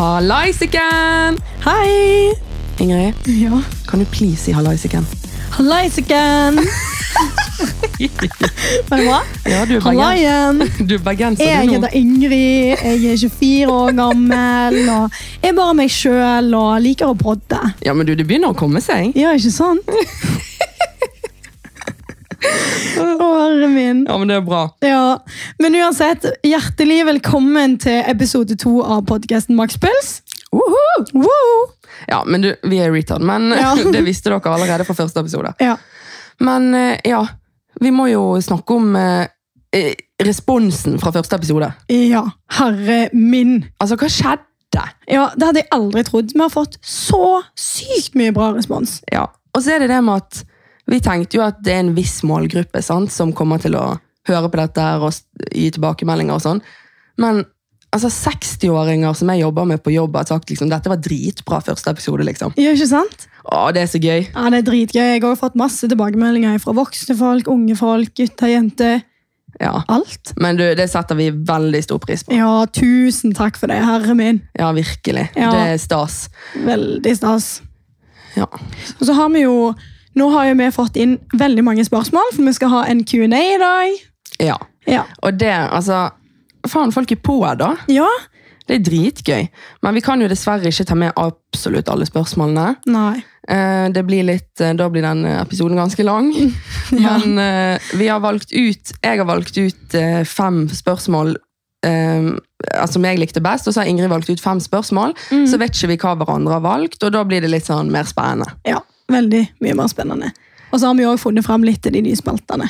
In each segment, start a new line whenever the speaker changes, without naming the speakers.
Hallaisiken!
Hei! Ingrid,
Ja.
kan du please si hallaisiken?
Hallaisiken!
Var det bra?
Ja, du er
Halla
bergenser.
igjen!
Du er bergenser,
Jeg
du nå.
heter Ingrid, jeg er 24 år gammel, og jeg er bare meg sjøl og liker å prodde.
Ja, men du, det begynner å komme seg.
Ja, ikke sant? Åre min.
Ja, men det er bra.
Ja, Men uansett, hjertelig velkommen til episode to av podkasten Max Puls.
Woohoo!
Wow!
Ja, men du, vi er retard, men
Ja.
det visste dere allerede fra første episode.
Ja.
Men eh, ja, vi må jo snakke om eh, eh, responsen fra første episode.
ja, herre min.
Altså, hva skjedde?
Ja, Det hadde jeg aldri trodd. Vi har fått så sykt mye bra respons.
Ja, og så er det det med at vi tenkte jo at det er en viss målgruppe sant, som kommer til å høre på dette her og s- gi tilbakemeldinger og sånn. Men altså 60-åringer som jeg jobber med på jobb, har sagt liksom, dette var dritbra første episode. liksom.
Ja, ikke sant?
Å, det er så gøy.
Ja, Det er dritgøy. Jeg har også fått masse tilbakemeldinger fra voksne folk, unge folk, gutter, jenter.
Ja.
Alt.
Men du, det setter vi veldig stor pris på.
Ja, tusen takk for det, herre min.
Ja, virkelig.
Ja.
Det er stas.
Veldig stas.
Ja.
Og så har vi jo Nå har jo vi fått inn veldig mange spørsmål, for vi skal ha en Q&A i dag.
ja.
Ja.
Og det, altså Faen, folk er på, da.
ja?
Det er dritgøy. Men vi kan jo dessverre ikke ta med absolutt alle spørsmålene.
Nei.
Eh, Det blir litt, eh, da blir den eh, episoden ganske lang.
Ja.
Men eh, vi har valgt ut, jeg har valgt ut eh, fem spørsmål eh, altså, som jeg likte best, og så har Ingrid valgt ut fem spørsmål.
Mm.
Så vet ikke vi hva hverandre har valgt, og da blir det litt sånn mer spennende.
Ja, Veldig mye mer spennende. Og så har vi òg funnet fram litt til de nye spaltene.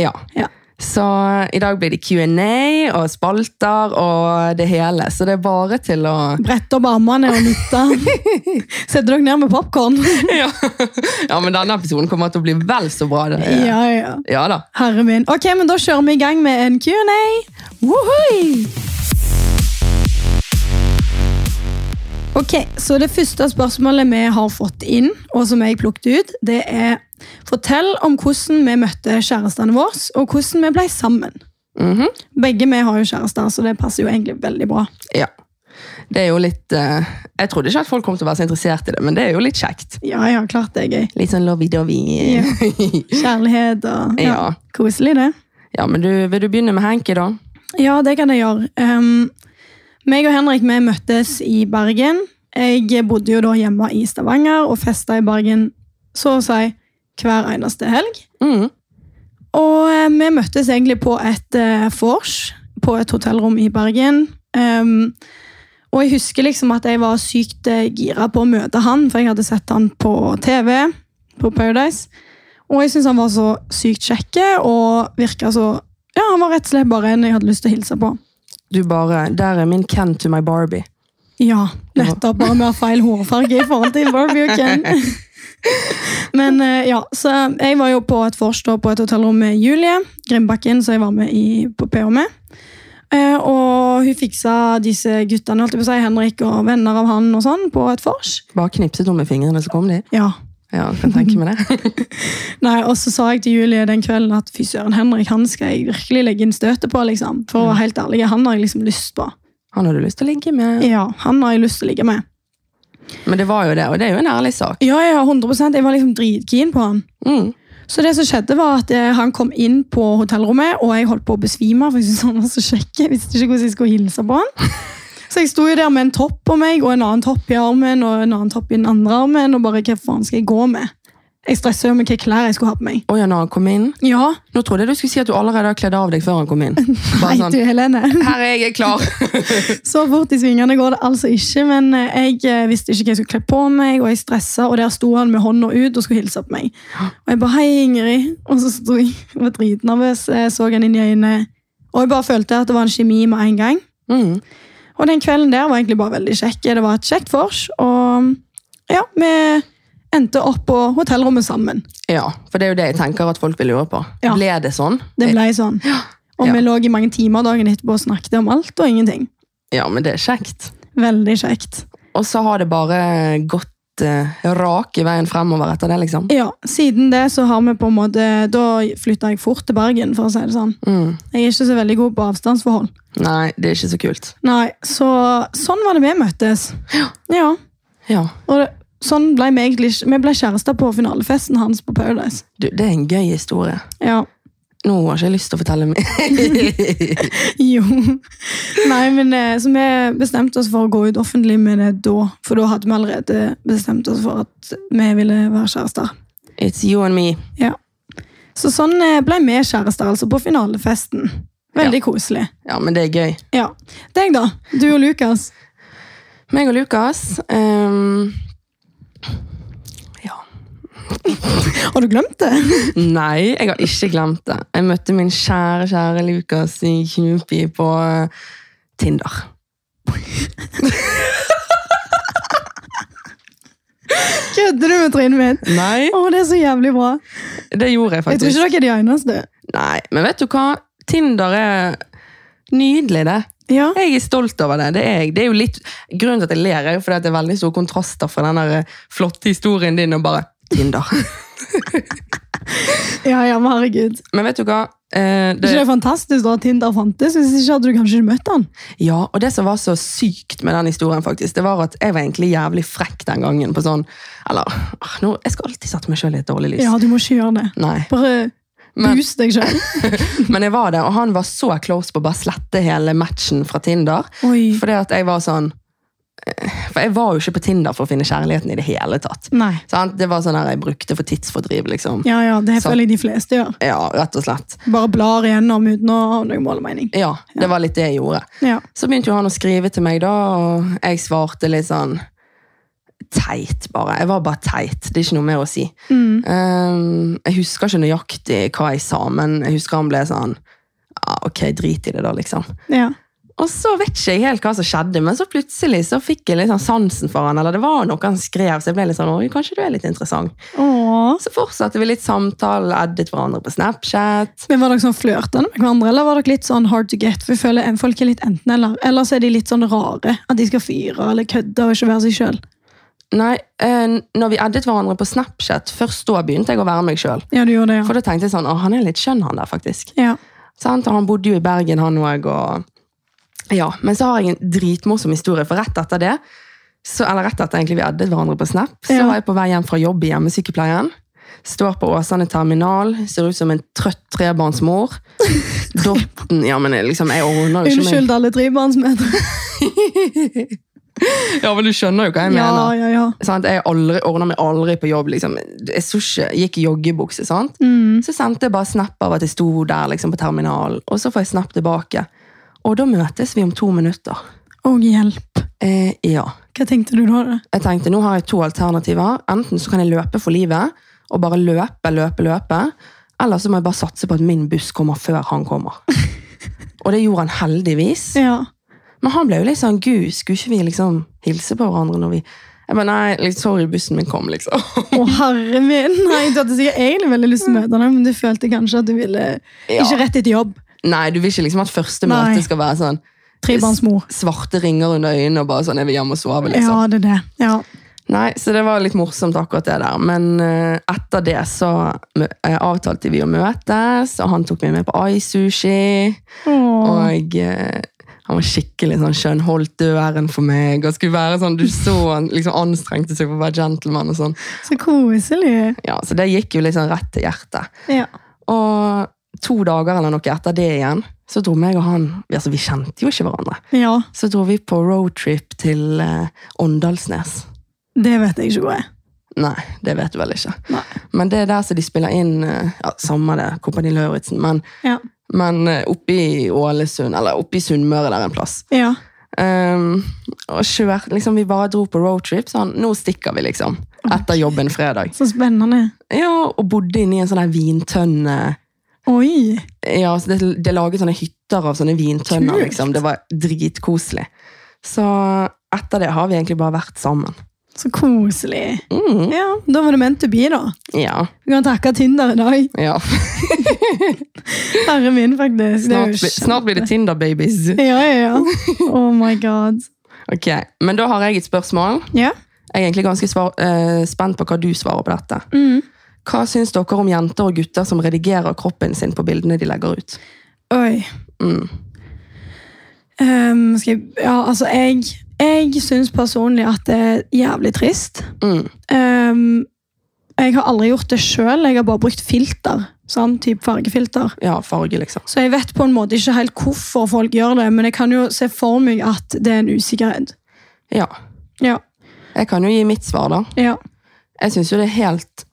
Ja.
Ja.
Så i dag blir det Q&A og spalter og det hele, så det er bare til å...
Brett opp armene og nytte. Sett dere ned med popkorn.
Ja. ja, men denne episoden kommer til å bli vel så bra. Det.
Ja, ja.
ja da.
Herre min. Ok, men da kjører vi i gang med en Q&A. Wohoi! Ok, så det første spørsmålet vi har fått inn, og som jeg plukket ut, det er Fortell om hvordan vi møtte kjærestene våre, og hvordan vi ble sammen.
Mhm.
Begge vi har jo kjærester, så det passer jo egentlig veldig bra.
Ja. Det er jo litt eh, Jeg trodde ikke at folk kom til å være så interessert i det, men det er jo litt kjekt.
Ja, ja, klart det er gøy.
Litt sånn lovey-dovey. Ja.
Kjærlighet og
Ja.
Koselig, det.
men du, vil du begynne med Henki, da?
Ja, det kan jeg gjøre. Um, meg og Henrik vi møttes i Bergen. Jeg bodde jo da hjemme i Stavanger og festa i Bergen så å si hver eneste helg.
Mm.
Og eh, vi møttes egentlig på et eh, vors på et hotellrom i Bergen. Um, og jeg husker liksom at jeg var sykt eh, gira på å møte han, for jeg hadde sett han på TV, på Paradise. Og jeg syntes han var så sykt kjekke, og virka så Ja, han var rett og slett bare en jeg hadde lyst til å hilse på.
Du bare Der er min Ken to my Barbie.
Ja, nettopp. Bare med å ha feil hårfarge i forhold til Barbie og Ken. Men eh, ja, så jeg var jo på et vors da på et hotellrom med Julie Grimbakken, som jeg var med i, på PH med. Eh, Og hun fiksa disse guttene, holdt jeg på å si, Henrik og venner av han og sånn, på et vors.
Bare knipset hun med fingrene, så kom de.
Ja.
Ja, jeg kan tenke meg det.
Nei, Og så sa jeg til Julie den kvelden at fy søren, Henrik han skal jeg virkelig legge inn støtet på, liksom. For å være helt ærlig, han har jeg liksom lyst på.
Han hadde lyst til å ligge med.
Ja, han har jeg lyst til å ligge med.
Men det var jo det, og det er jo en ærlig sak.
Ja, ja, 100 Jeg var liksom dritkeen på han.
Mm.
Så det som skjedde var at eh, han kom inn på hotellrommet, og jeg holdt på å besvime. for jeg syntes han var så kjekk. Jeg visste ikke hvordan jeg skulle hilse på han. Så jeg sto jo der med en topp på meg, og en annen topp i armen, og en annen topp i den andre armen, og bare hva faen skal jeg gå med? Jeg stressa jo med hvilke klær jeg skulle ha på meg.
Å ja, når han kom inn
Ja,
Nå trodde jeg du skulle si at du allerede har kledd av deg før han kom inn. Bare
Nei,
sånn
du Helene.
Her er jeg, jeg er klar!
Så fort i svingene går det altså ikke, men eh, jeg eh, visste ikke hva jeg skulle kle på meg, og jeg stressa, og der sto han med hånda ut og skulle hilse på meg. Og jeg bare 'hei, Ingrid', og så sto jeg jeg var dritnervøs, jeg så han inn i øynene, og jeg bare følte at det var en kjemi med en gang.
Mm.
Og den kvelden der var egentlig bare veldig kjekk. Det var et kjekt vors, og ja, vi endte opp på hotellrommet sammen.
Ja, for det er jo det jeg tenker at folk vil lure på.
Ja.
Ble det sånn?
Det ble sånn. Og
Ja.
vi lå i mange timer dagen etterpå og snakket om alt og ingenting.
Ja, men det er kjekt.
Veldig kjekt.
Og så har det bare gått helt eh, rak i veien fremover etter det, liksom.
Ja, Siden det så har vi på en måte Da flytta jeg fort til Bergen, for å si det sånn.
Mm.
Jeg er ikke så veldig god på avstandsforhold.
Nei, det er ikke så kult.
Nei, Så sånn var det vi møttes. Ja.
Ja.
Og det, sånn ble vi egentlig ikke- Vi ble kjærester på finalefesten hans på Paradise.
Du, det er en gøy historie.
Ja.
Nå har ikke jeg lyst til å fortelle mer.
Jo. Nei, men eh, så vi bestemte oss for å gå ut offentlig med det da. For da hadde vi allerede bestemt oss for at vi ville være kjærester.
It's you and me.
Så sånn eh, ble vi kjærester, altså, på finalefesten. Veldig koselig.
Ja, men det er gøy.
Ja. Deg, da? Du og Lukas.
Meg og Lukas ehm, Ja.
Har du glemt det?
Nei, jeg har ikke glemt det. Jeg møtte min kjære, kjære Lukas i Knupi på eh, Tinder.
Kødder du med trynet mitt?
Nei,
Å, det er så jævlig bra.
det gjorde jeg
Jeg tror
faktisk.
ikke dere er de eneste.
Nei, men vet du hva? Tinder er nydelig, det.
Ja.
Jeg er stolt over det. Det er, jeg. det er jo litt, grunnen til at jeg ler, er jo fordi at det er veldig store kontraster fra den der eh, flotte historien din og bare Tinder.
ja, ja, men herregud.
Men vet du hva? Eh,
Er ikke det
det,
er fantastisk da at Tinder fantes? Hvis ikke hadde du kanskje ikke møtt han.
ja, og det som var så sykt med den historien, faktisk, det var at jeg var egentlig jævlig frekk den gangen. på sånn, eller, ah, nå, Jeg skal alltid sette meg sjøl i et dårlig lys.
Ja, du må ikke gjøre det.
Nei.
Bare
Men-
boost deg sjøl.
Men jeg var det, og han var så close på å bare slette hele matchen fra Tinder.
Oi.
Fordi at jeg var sånn eh, For jeg var jo ikke på Tinder for å finne kjærligheten i det hele tatt.
Nei.
Sant? Det var sånn her jeg brukte for tidsfordriv, liksom.
Ja, ja, det
Så-
føler jeg de fleste gjør.
Ja, rett og slett.
Bare blar igjennom uten å ha noen mål og mening.
Ja, det var litt det jeg gjorde.
Ja.
Så begynte jo han å skrive til meg, da, og jeg svarte litt sånn Teit, bare. Jeg var bare teit. Det er ikke noe mer å si.
Mm.
Um, jeg husker ikke nøyaktig hva jeg sa, men jeg husker han ble sånn ja, Ok, drit i det, da, liksom.
ja.
Og så vet ikke jeg helt hva som skjedde, men så plutselig så fikk jeg litt sånn sansen for han, eller det var noe han skrev, så jeg ble litt sånn Oi, kanskje du er litt interessant.
Åh.
Så fortsatte vi litt samtale, addet hverandre på Snapchat.
Men Var dere sånn flørtende med hverandre, eller var dere litt sånn hard to get? For jeg føler en- folk er litt enten eller. Eller så er de litt sånn rare. At de skal fyre eller kødde og ikke være seg sjøl.
Nei, eh, når vi addet hverandre på Snapchat, først da begynte jeg å være meg sjøl.
Ja, du gjorde det, ja.
For da tenkte jeg sånn Å, han er litt skjønn, han der, faktisk.
ja.
Sant? Og han bodde jo i Bergen, han òg, og Ja. Men så har jeg en dritmorsom historie, for rett etter det, så, eller rett etter egentlig vi addet hverandre på Snap, så
Ja.
var jeg på vei hjem fra jobb i hjemmesykepleien. Står på Åsane terminal, ser ut som en trøtt trebarnsmor. Dotten Ja, men jeg liksom, jeg ordner jo ikke
Unnskyld alle trebarnsmødre.
meg. ja, men du skjønner jo hva jeg
Ja,
mener.
ja, ja.
Sant? Jeg ordner, ordner meg aldri på jobb, liksom. Jeg så ikke, gikk i joggebukse, sant.
Mm.
Så sendte jeg bare snap av at jeg sto der liksom, på terminalen, og så får jeg snap tilbake. Og da møtes vi om to minutter.
Og hjelp.
Eh, ja.
Hva tenkte du da? da?
Jeg tenkte, nå har jeg to alternativer. Enten så kan jeg løpe for livet, og bare løpe, løpe, løpe. Eller så må jeg bare satse på at min buss kommer før han kommer. Og det gjorde han heldigvis.
Ja.
Men han ble jo litt sånn, gud, skulle ikke vi liksom hilse på hverandre når vi... Jeg bare, nei, litt sorry, bussen min kom, liksom.
Å, herre min! Nei, Du hadde sikkert egentlig veldig lyst til å møte henne, men du følte kanskje at du ville
Ja.
Ikke rett etter jobb.
Nei, du vil ikke liksom at første
Nei.
møte skal være sånn,
Trebarnsmor.
svarte ringer under øynene og bare sånn, jeg vil hjem og sove, liksom.
Ja, det er det. Ja.
Nei, så det var litt morsomt akkurat det der. Men eh, etter det så mø- eh, avtalte vi å møtes, og han tok meg med på ai-sushi.
Åh.
Og eh, han var skikkelig sånn skjønn, holdt døren for meg, og skulle være sånn, du så han liksom anstrengte seg for å være gentleman og sånn.
Så koselig.
Ja, så det gikk jo litt sånn rett til hjertet.
Ja.
Og to dager eller noe etter det igjen, så dro meg og han, altså vi kjente jo ikke hverandre,
ja.
så dro vi på roadtrip til eh, Åndalsnes.
Det vet jeg ikke hva er.
Nei, det vet du vel ikke.
Nei.
Men det er der som de spiller inn eh, ja, Samme det, Kompani Lauritzen, men,
Ja.
men eh, oppe i Ålesund, eller oppe i Sunnmøre der en plass.
Ja.
Ehm, og kjør, liksom, vi bare dro på roadtrip, sånn, nå stikker vi, liksom. Etter jobben fredag.
Så spennende.
Ja, og bodde inne i en sånn her vintønne.
Oi!
Ja, så det, det laget sånne hytter av sånne vintønner,
Kult.
liksom. Det var dritkoselig. Så etter det har vi egentlig bare vært sammen.
Så koselig.
Mm,
Ja, Da var det ment to be, da.
ja,
Du kan takke Tinder i dag.
ja.
Herre min, faktisk. Det er jo
Snart, blir- snart blir det Tinder-babies.
kjempe- Ja, ja, ja. Oh my god.
Ok, men da har jeg et spørsmål.
Ja.
Jeg er egentlig ganske svar, eh, spent på hva du svarer på dette.
Mm.
Hva syns dere om jenter og gutter som redigerer kroppen sin på bildene de legger ut?
Oi.
Mm.
Ehm, skal jeg, ja, altså, jeg, jeg syns personlig at det er jævlig trist.
Mm.
Ehm, jeg har aldri gjort det sjøl, jeg har bare brukt filter. Sånn type fargefilter.
Ja, farge, liksom.
Så jeg vet på en måte ikke helt hvorfor folk gjør det, men jeg kan jo se for meg at det er en usikkerhet.
Ja.
Ja,
Jeg kan jo gi mitt svar, da.
ja,
Jeg syns jo det er helt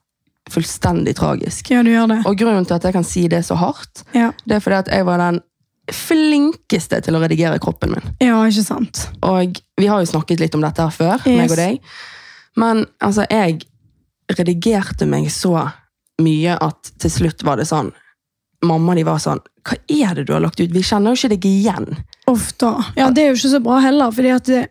fullstendig tragisk.
ja du gjør det.
Og grunnen til at jeg kan si det så hardt,
Ja,
det er fordi at jeg var den flinkeste til å redigere kroppen min.
ja ikke sant?
Og vi har jo snakket litt om dette her før,
Yes.
meg og deg. Men altså, jeg redigerte meg så mye at til slutt var det sånn Mamma de var sånn Hva er det du har lagt ut? Vi kjenner jo ikke deg igjen.
Ofte. Ja, det er jo ikke så bra heller, fordi at det,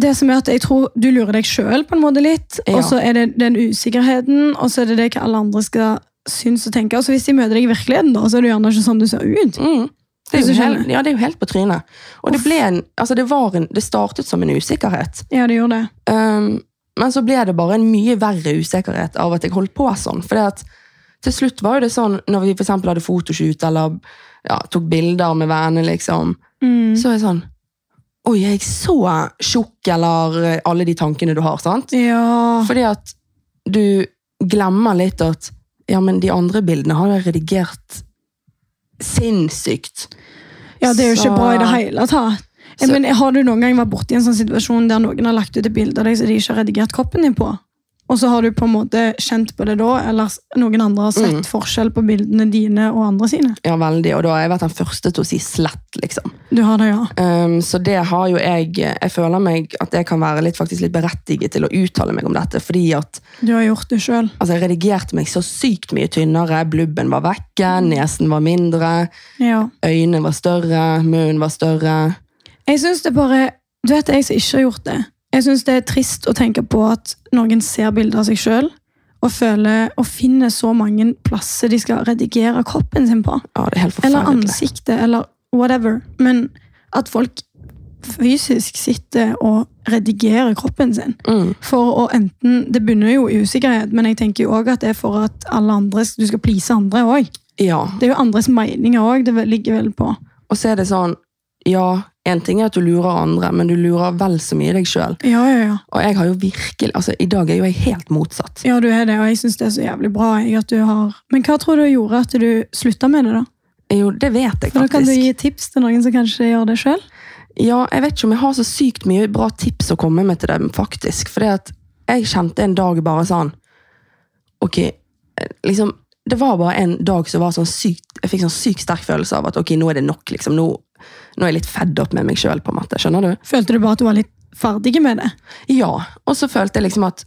det som er at jeg tror du lurer deg sjøl på en måte litt,
Ja.
og så er det den usikkerheten, og så er det det hva alle andre skal synes og tenke. Og så hvis de møter deg i virkeligheten, da, så er det jo gjerne ikke sånn du ser ut.
Mm. Det,
Hvis
er
du
jo
skjønner.
helt, ja, det er jo helt på trynet. Og det, ble en, altså det, var en, det startet som en usikkerhet.
Ja, det gjør det.
Um, men så ble det bare en mye verre usikkerhet av at jeg holdt på sånn. For at til slutt var jo det sånn, når vi for eksempel hadde fotoshoot, eller ja, tok bilder med venner, liksom,
Mm.
så er jeg sånn, oi, er jeg så tjukk, eller eh, alle de tankene du har, sant?
Ja.
Fordi at du glemmer litt at, ja, men de andre bildene har jeg redigert sinnssykt.
ja, det er jo ikke
Så-
bra i det hele tatt. Eh,
Så-
Men Har du noen gang vært borti en sånn situasjon der noen har lagt ut et bilde av deg som de ikke har redigert kroppen din på? Og så har du på en måte kjent på det da, eller s- noen andre
Mm.
har sett forskjell på bildene dine og andre sine?
Ja, veldig, og da har jeg vært den første til å si slett, liksom.
Du har det, ja.
Um, så det har jo jeg Jeg føler meg at jeg kan være litt, faktisk litt berettiget til å uttale meg om dette. Fordi at
Du har gjort det sjøl.
altså, jeg redigerte meg så sykt mye tynnere. Blubben var vekke,
Mm.
nesen var mindre,
Ja.
øynene var større, munnen var større.
Jeg syns det bare Du vet jeg som ikke har gjort det. Jeg syns det er trist å tenke på at noen ser bilder av seg sjøl og føler og finner så mange plasser de skal redigere kroppen sin på.
Ja, det er helt
Eller
forferdelig.
ansiktet, eller whatever. Men at folk fysisk sitter og redigerer kroppen sin.
Mm,
For å enten, Det bunner jo i usikkerhet, men jeg tenker jo også at det er for at alle andre, du skal please andre òg.
ja.
Det er jo andres meninger òg det ligger vel på.
Og så er det sånn Ja, en ting er at du lurer andre, men du lurer vel så mye deg sjøl.
Ja, ja, ja.
Og jeg har jo virkelig Altså, i dag er jo jeg helt motsatt.
Ja, du er det, og jeg syns det er så jævlig bra. Jeg, at du har... Men hva tror du gjorde at du slutta med det, da?
Jo, det vet jeg
For Da kan du
faktisk.
gi tips til noen som kanskje gjør det sjøl.
Ja, jeg vet ikke om jeg har så sykt mye bra tips å komme med til dem, faktisk. Fordi at jeg kjente en dag bare sånn Ok, eh, liksom Det var bare en dag som var sånn sykt Jeg fikk sånn sykt sterk følelse av at ok, nå er det nok, liksom. Nå, nå er jeg litt fedd opp med meg sjøl, på en måte. Skjønner du?
Følte du bare at du var litt ferdig med det?
Ja. Og så følte jeg liksom at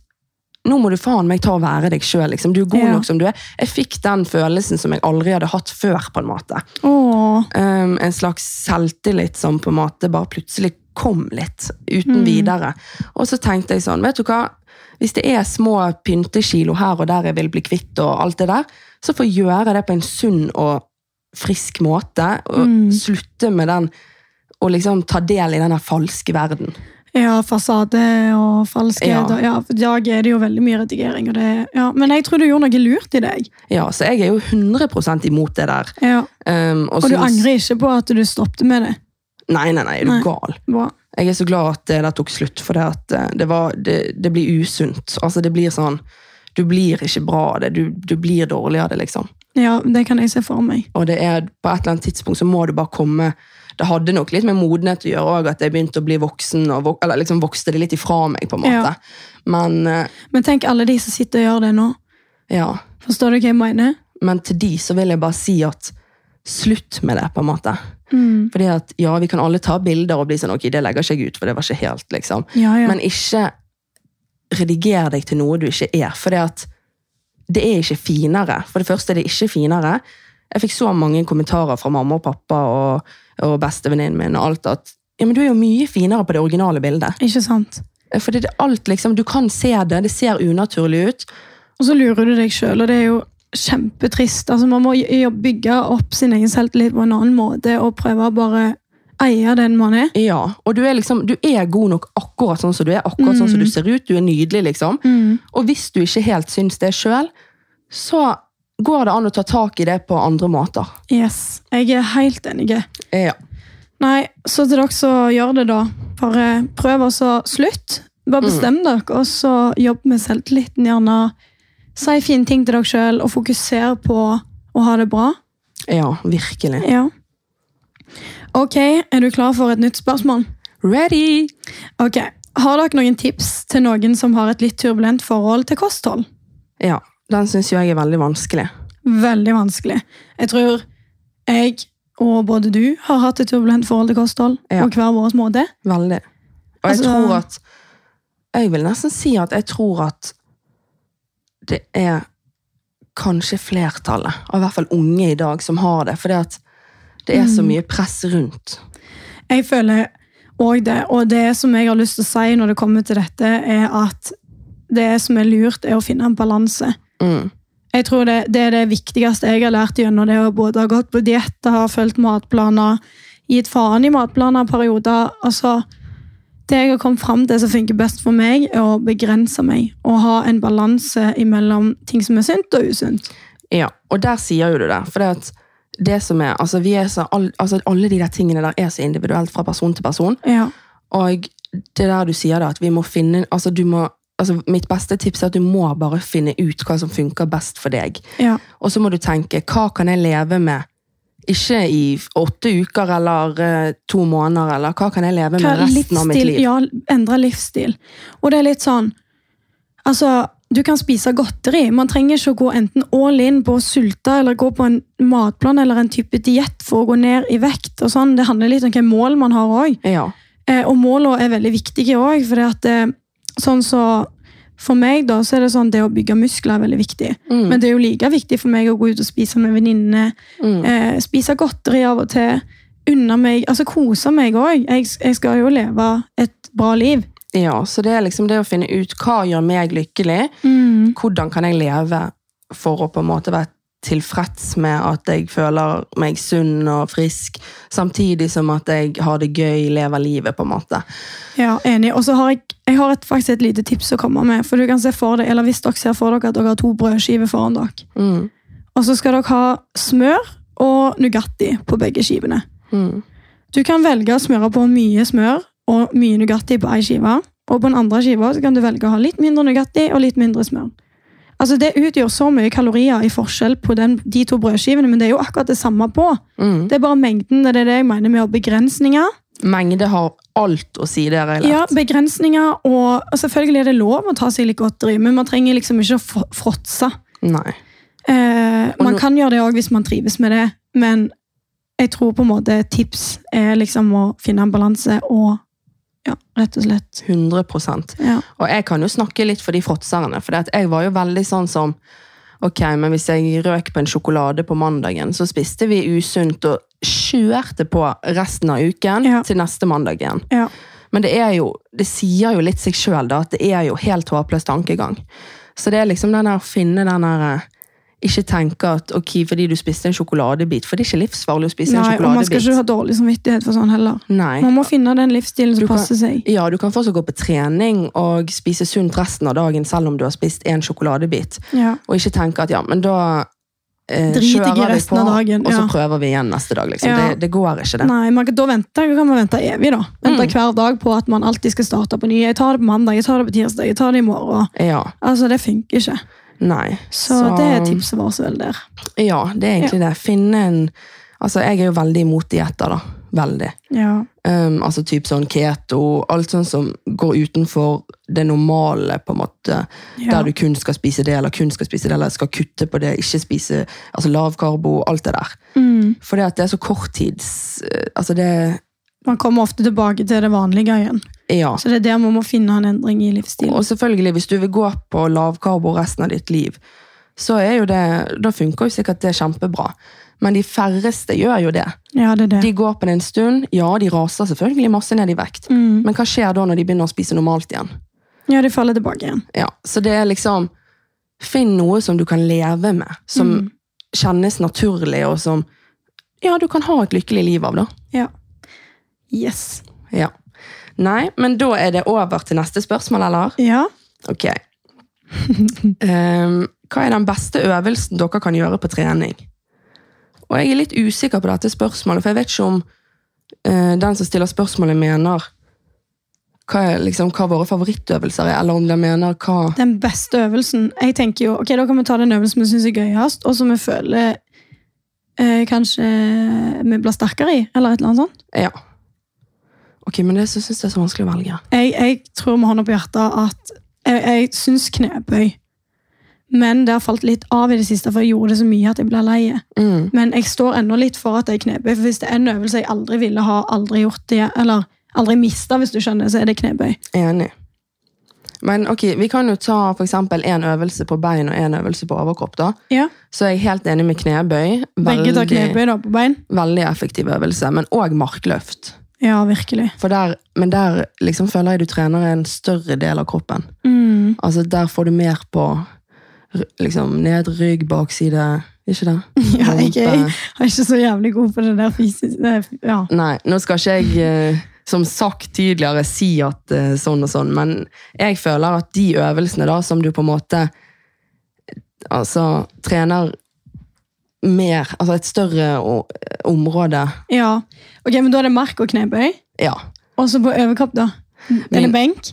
nå må du faen meg ta og være deg sjøl. Liksom. Du er god
Ja.
nok som du er. Jeg fikk den følelsen som jeg aldri hadde hatt før. på en måte.
Åh,
um, en slags selvtillit som på en måte bare plutselig kom litt, uten
Mm.
videre. Og så tenkte jeg sånn, vet du hva, hvis det er små pyntekilo her og der jeg vil bli kvitt og alt det der, så får jeg gjøre det på en sunn og frisk måte, og
Mm.
slutte med den, og liksom ta del i denne falske verden.
ja, fasade og falskhet.
Ja.
og- Ja. for I dag er det jo veldig mye redigering. Og det, ja. Men jeg tror du gjorde noe lurt i deg.
Ja, så jeg er jo 100% imot det der.
Ja.
Um,
Og du
synes-
angrer ikke på at du stoppet med det.
Nei, nei, nei, er du
Nei.
gal?
Bra.
Jeg er så glad at eh, det der tok slutt, for det, at eh, det, var, det, det blir usunt. Altså, det blir sånn Du blir ikke bra av det. Du, du blir dårlig av det, liksom.
Ja, det kan jeg se for meg.
Og det er, på et eller annet tidspunkt så må du bare komme Det hadde nok litt med modenhet å gjøre òg, at jeg begynte å bli voksen, og vok eller liksom vokste det litt ifra meg, på en måte.
Ja.
Men eh,
Men tenk alle de som sitter og gjør det nå.
ja.
Forstår du hva jeg mener?
Men til de så vil jeg bare si at slutt med det, på en måte.
Mm.
Fordi at ja, vi kan alle ta bilder og bli sånn ok, det legger ikke jeg ut, for det var ikke helt, liksom.
Ja, ja.
Men ikke rediger deg til noe du ikke er. For det at det er ikke finere. For det første er det ikke finere. Jeg fikk så mange kommentarer fra mamma og pappa og, og bestevenninnen min og alt at ja, men du er jo mye finere på det originale bildet.
Ikke sant?
For det er alt liksom, Du kan se det, det ser unaturlig ut.
Og så lurer du deg sjøl, og det er jo kjempetrist. Altså, man må jo- jo bygge opp sin egen selvtillit på en annen måte og prøve å bare eie den man er.
Ja, og du er, liksom, du er god nok akkurat sånn som du er, akkurat sånn som du ser ut. Du er nydelig, liksom. Og hvis du ikke helt syns det sjøl, så går det an å ta tak i det på andre måter.
Yes. Jeg er helt enig.
Eh, Ja.
Nei, så til dere som gjør det, da. Bare prøv, og så slutt. Bare bestem dere, og så jobb med selvtilliten. Gjerne si fine ting til dere sjøl, og fokuser på å ha det bra.
ja, virkelig.
Ja. Ok, er du klar for et nytt spørsmål?
Ready!
Ok, Har dere noen tips til noen som har et litt turbulent forhold til kosthold?
Ja, den syns jeg er veldig vanskelig.
Veldig vanskelig. Jeg tror jeg og både du har hatt et turbulent forhold til kosthold,
Ja.
og hver vår måte.
Veldig. Og jeg
Altså-
tror at Jeg vil nesten si at jeg tror at det er kanskje flertallet, og i hvert fall unge i dag, som har det. Fordi at det er så mye press rundt.
Jeg føler òg det. Og det som jeg har lyst til å si når det kommer til dette, er at det som er lurt, er å finne en balanse.
Mm.
Jeg tror det, det er det viktigste jeg har lært gjennom det å både ha gått på diett, ha fulgt matplaner, gitt faen i matplaner i perioder. Altså, det jeg har kommet fram til som funker best for meg, er å begrense meg. Og ha en balanse mellom ting som er sunt og usunt.
Ja, og der sier jo du det. For det at det som er, altså vi er så, all, altså alle de der tingene der er så individuelt fra person til person.
Ja.
Og det der du sier da, at vi må finne, altså du må, altså mitt beste tips er at du må bare finne ut hva som funker best for deg.
ja.
Og så må du tenke, hva kan jeg leve med? Ikke i f- åtte uker eller eh, to måneder, eller hva kan jeg leve med
Hva-
resten av mitt liv?
Ja, endre livsstil. Og det er litt sånn Altså, du kan spise godteri. Man trenger ikke å gå enten all in på å sulte eller gå på en matplan eller en type diett for å gå ned i vekt. og sånn. Det handler litt om hvilke mål man har òg.
Ja,
Eh, og målene er veldig viktige òg, for eh, sånn så for meg da, så er det sånn det å bygge muskler er veldig viktig.
Mm.
Men det er jo like viktig for meg å gå ut og spise med venninnene.
Mm.
Eh, spise godteri av og til. Unne meg, altså kose meg òg. Jeg, jeg skal jo leve et bra liv.
ja, så det er liksom det å finne ut, hva gjør meg lykkelig? hvordan kan jeg leve for å på en måte være tilfreds med at jeg føler meg sunn og frisk, samtidig som at jeg har det gøy, lever livet, på en måte.
Ja, enig. Og så har jeg, jeg har et, faktisk et lite tips å komme med. For du kan se for deg, eller Hvis dere ser for dere at dere har to brødskiver foran dere,
Mm.
og så skal dere ha smør og Nugatti på begge skivene.
Mm.
Du kan velge å smøre på mye smør og mye Nugatti på ei skive. Og på den andre skiva så kan du velge å ha litt mindre Nugatti og litt mindre smør. Altså Det utgjør så mye kalorier i forskjell på den, de to brødskivene, men det er jo akkurat det samme på.
Mm.
Det er bare mengden. Det er det jeg mener med å ha begrensninger.
Mengde har alt å si, det har jeg
Ja,
lært.
begrensninger, og, og Selvfølgelig er det lov å ta seg litt godteri, men man trenger liksom ikke å fr- fråtse.
Nei.
Eh, man
nå-
kan gjøre det òg hvis man trives med det, men jeg tror på en måte tips er liksom å finne en balanse og ja, rett og slett
100
Ja.
Og jeg kan jo snakke litt for de fråtserne, for det at jeg var jo veldig sånn som Ok, men hvis jeg røk på en sjokolade på mandagen, så spiste vi usunt og kjørte på resten av uken
Ja.
til neste mandag igjen.
Ja.
Men det er jo, det sier jo litt seg sjøl, da, at det er jo helt håpløs tankegang. Så det er liksom den der å finne den der eh, Ikke tenke at ok, fordi du spiste en sjokoladebit, for det er ikke livsfarlig å spise
Nei,
en
og man skal
sjokoladebit.
ikke ha dårlig samvittighet for sånn heller.
Nei.
Man må finne den livsstilen som
kan-
passer seg.
Ja, du kan fortsatt gå på trening og spise sunt resten av dagen selv om du har spist en sjokoladebit.
Ja.
Og ikke tenke at ja, men da eh,
Drit jeg i
kjører vi
resten
på,
av dagen,
og så
ja.
prøver vi igjen neste dag. Liksom.
Ja.
Det, det går ikke, det.
Nei, man kan, da venter, kan man vente evig, da.
Mm.
Vente hver dag på at man alltid skal starte på ny. Jeg tar det på mandag, jeg tar det på tirsdag, jeg tar det i morgen.
Ja,
Altså, Det funker ikke.
nei.
Så, det er tipset vårt vel der.
Ja, det er egentlig det. Finne en Altså, jeg er jo veldig imot dietter, da. Veldig.
Ja.
Um, altså typ sånn keto, alt sånn som går utenfor det normale, på en måte.
Ja.
Der du kun skal spise det, eller kun skal spise det, eller skal kutte på det, ikke spise altså lav karbo, alt det der.
Mm.
For det at det er så korttids eh, Altså det
Man kommer ofte tilbake til det vanlige igjen.
Ja.
Så det er der man må finne en endring i livsstilen.
Og selvfølgelig, hvis du vil gå på lavkarbo resten av ditt liv, så er jo det Da funker jo sikkert det kjempebra. Men de færreste gjør jo det.
Ja, det er det.
De går på det en stund. Ja, de raser selvfølgelig masse ned i vekt. Men hva skjer da når de begynner å spise normalt igjen?
Ja, de faller tilbake igjen.
Ja, Så det er liksom Finn noe som du kan leve med, som kjennes naturlig, og som Ja, du kan ha et lykkelig liv av, da.
Ja. Yes.
Ja. Nei, men da er det over til neste spørsmål, eller?
Ja.
Ok. Ehm, hva er den beste øvelsen dere kan gjøre på trening? Og jeg er litt usikker på dette spørsmålet, for jeg vet ikke om eh, den som stiller spørsmålet mener hva, er, liksom, hva våre favorittøvelser er, eller om de mener hva
Den beste øvelsen. Jeg tenker jo, ok, Da kan vi ta den øvelsen vi syns er gøyest, og som vi føler eh, kanskje vi blir sterkere i, eller et eller annet sånt.
Ja. Ok, men det syns jeg er så vanskelig å velge.
Jeg, jeg tror med hånda på hjertet at jeg, jeg syns knebøy. Men det har falt litt av i det siste, for jeg gjorde det så mye at jeg ble lei.
Mm.
Men jeg står ennå litt for at det er knebøy, for hvis det er en øvelse jeg aldri ville ha, aldri gjort det, eller aldri mista, hvis du skjønner, så er det knebøy.
Enig. Men ok, vi kan jo ta for eksempel en øvelse på bein og en øvelse på overkropp. da.
Ja,
Så jeg er helt enig med knebøy.
Begge tar knebøy da, på bein.
veldig effektiv øvelse, men òg markløft.
Ja, virkelig.
For der, men der liksom føler jeg du trener en større del av kroppen.
Mm.
Altså Der får du mer på r- liksom ned, rygg, bakside. Ikke det?
Ja, jeg, jeg,
Rumpe.
er ikke så jævlig god på det der fysisk det- Ja.
Nei, nå skal ikke jeg, eh, som sagt tidligere, si at eh, sånn og sånn, men jeg føler at de øvelsene da, som du på en måte eh, altså, trener mer, altså et større o- område,
ja. Ok, men da er det mark og knebøy.
ja.
Og så på overkropp, da. Er
Men-
det benk?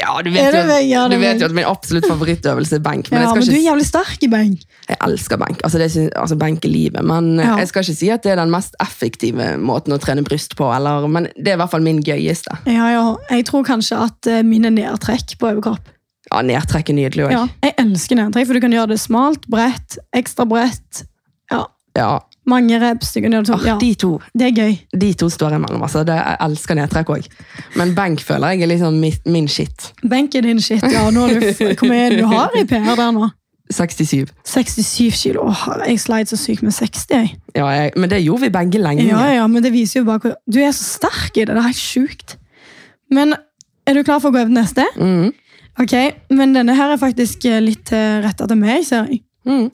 Ja, du
Er
vet,
det
jo,
vei- ja,
du
det er
vet
vei.
jo at min absolutt favorittøvelse er benk, men
Ja,
jeg
men
skal
du er
ikke
jævlig sterk i benk.
Jeg elsker benk. Altså, det synes, altså benk er livet. Men eh,
Ja.
jeg skal ikke si at det er den mest effektive måten å trene bryst på. Eller, men det er i hvert fall min gøyeste.
Ja, ja. Jeg tror kanskje at eh, mine nedtrekk på overkropp.
Ja, Nedtrekk er nydelig òg.
Ja, jeg elsker nedtrekk, for du kan gjøre det smalt, bredt, ekstra bredt. Ja,
Ja.
mange reps. Du kan gjøre det
Ah,
sånn. Ja,
De, to-
det er gøy.
de to står imellom. Altså. Det, jeg elsker nedtrekk òg. Men benk føler jeg er liksom min, min shit.
Benken din, shit. Ja, nå er du, hvor mye er det du har i PR der nå?
67.
67 kilo. Åh, jeg sleit så sykt med 60, jeg.
Ja, jeg, men det gjorde vi begge lenge.
Ja, ja, men det viser jo bare hvor... Du er så sterk i det. Det er helt sjukt. Men er du klar for å gå over til neste?
Mm.
Ok, men denne her er faktisk eh, litt eh, rettet til meg, ser jeg.
Mm.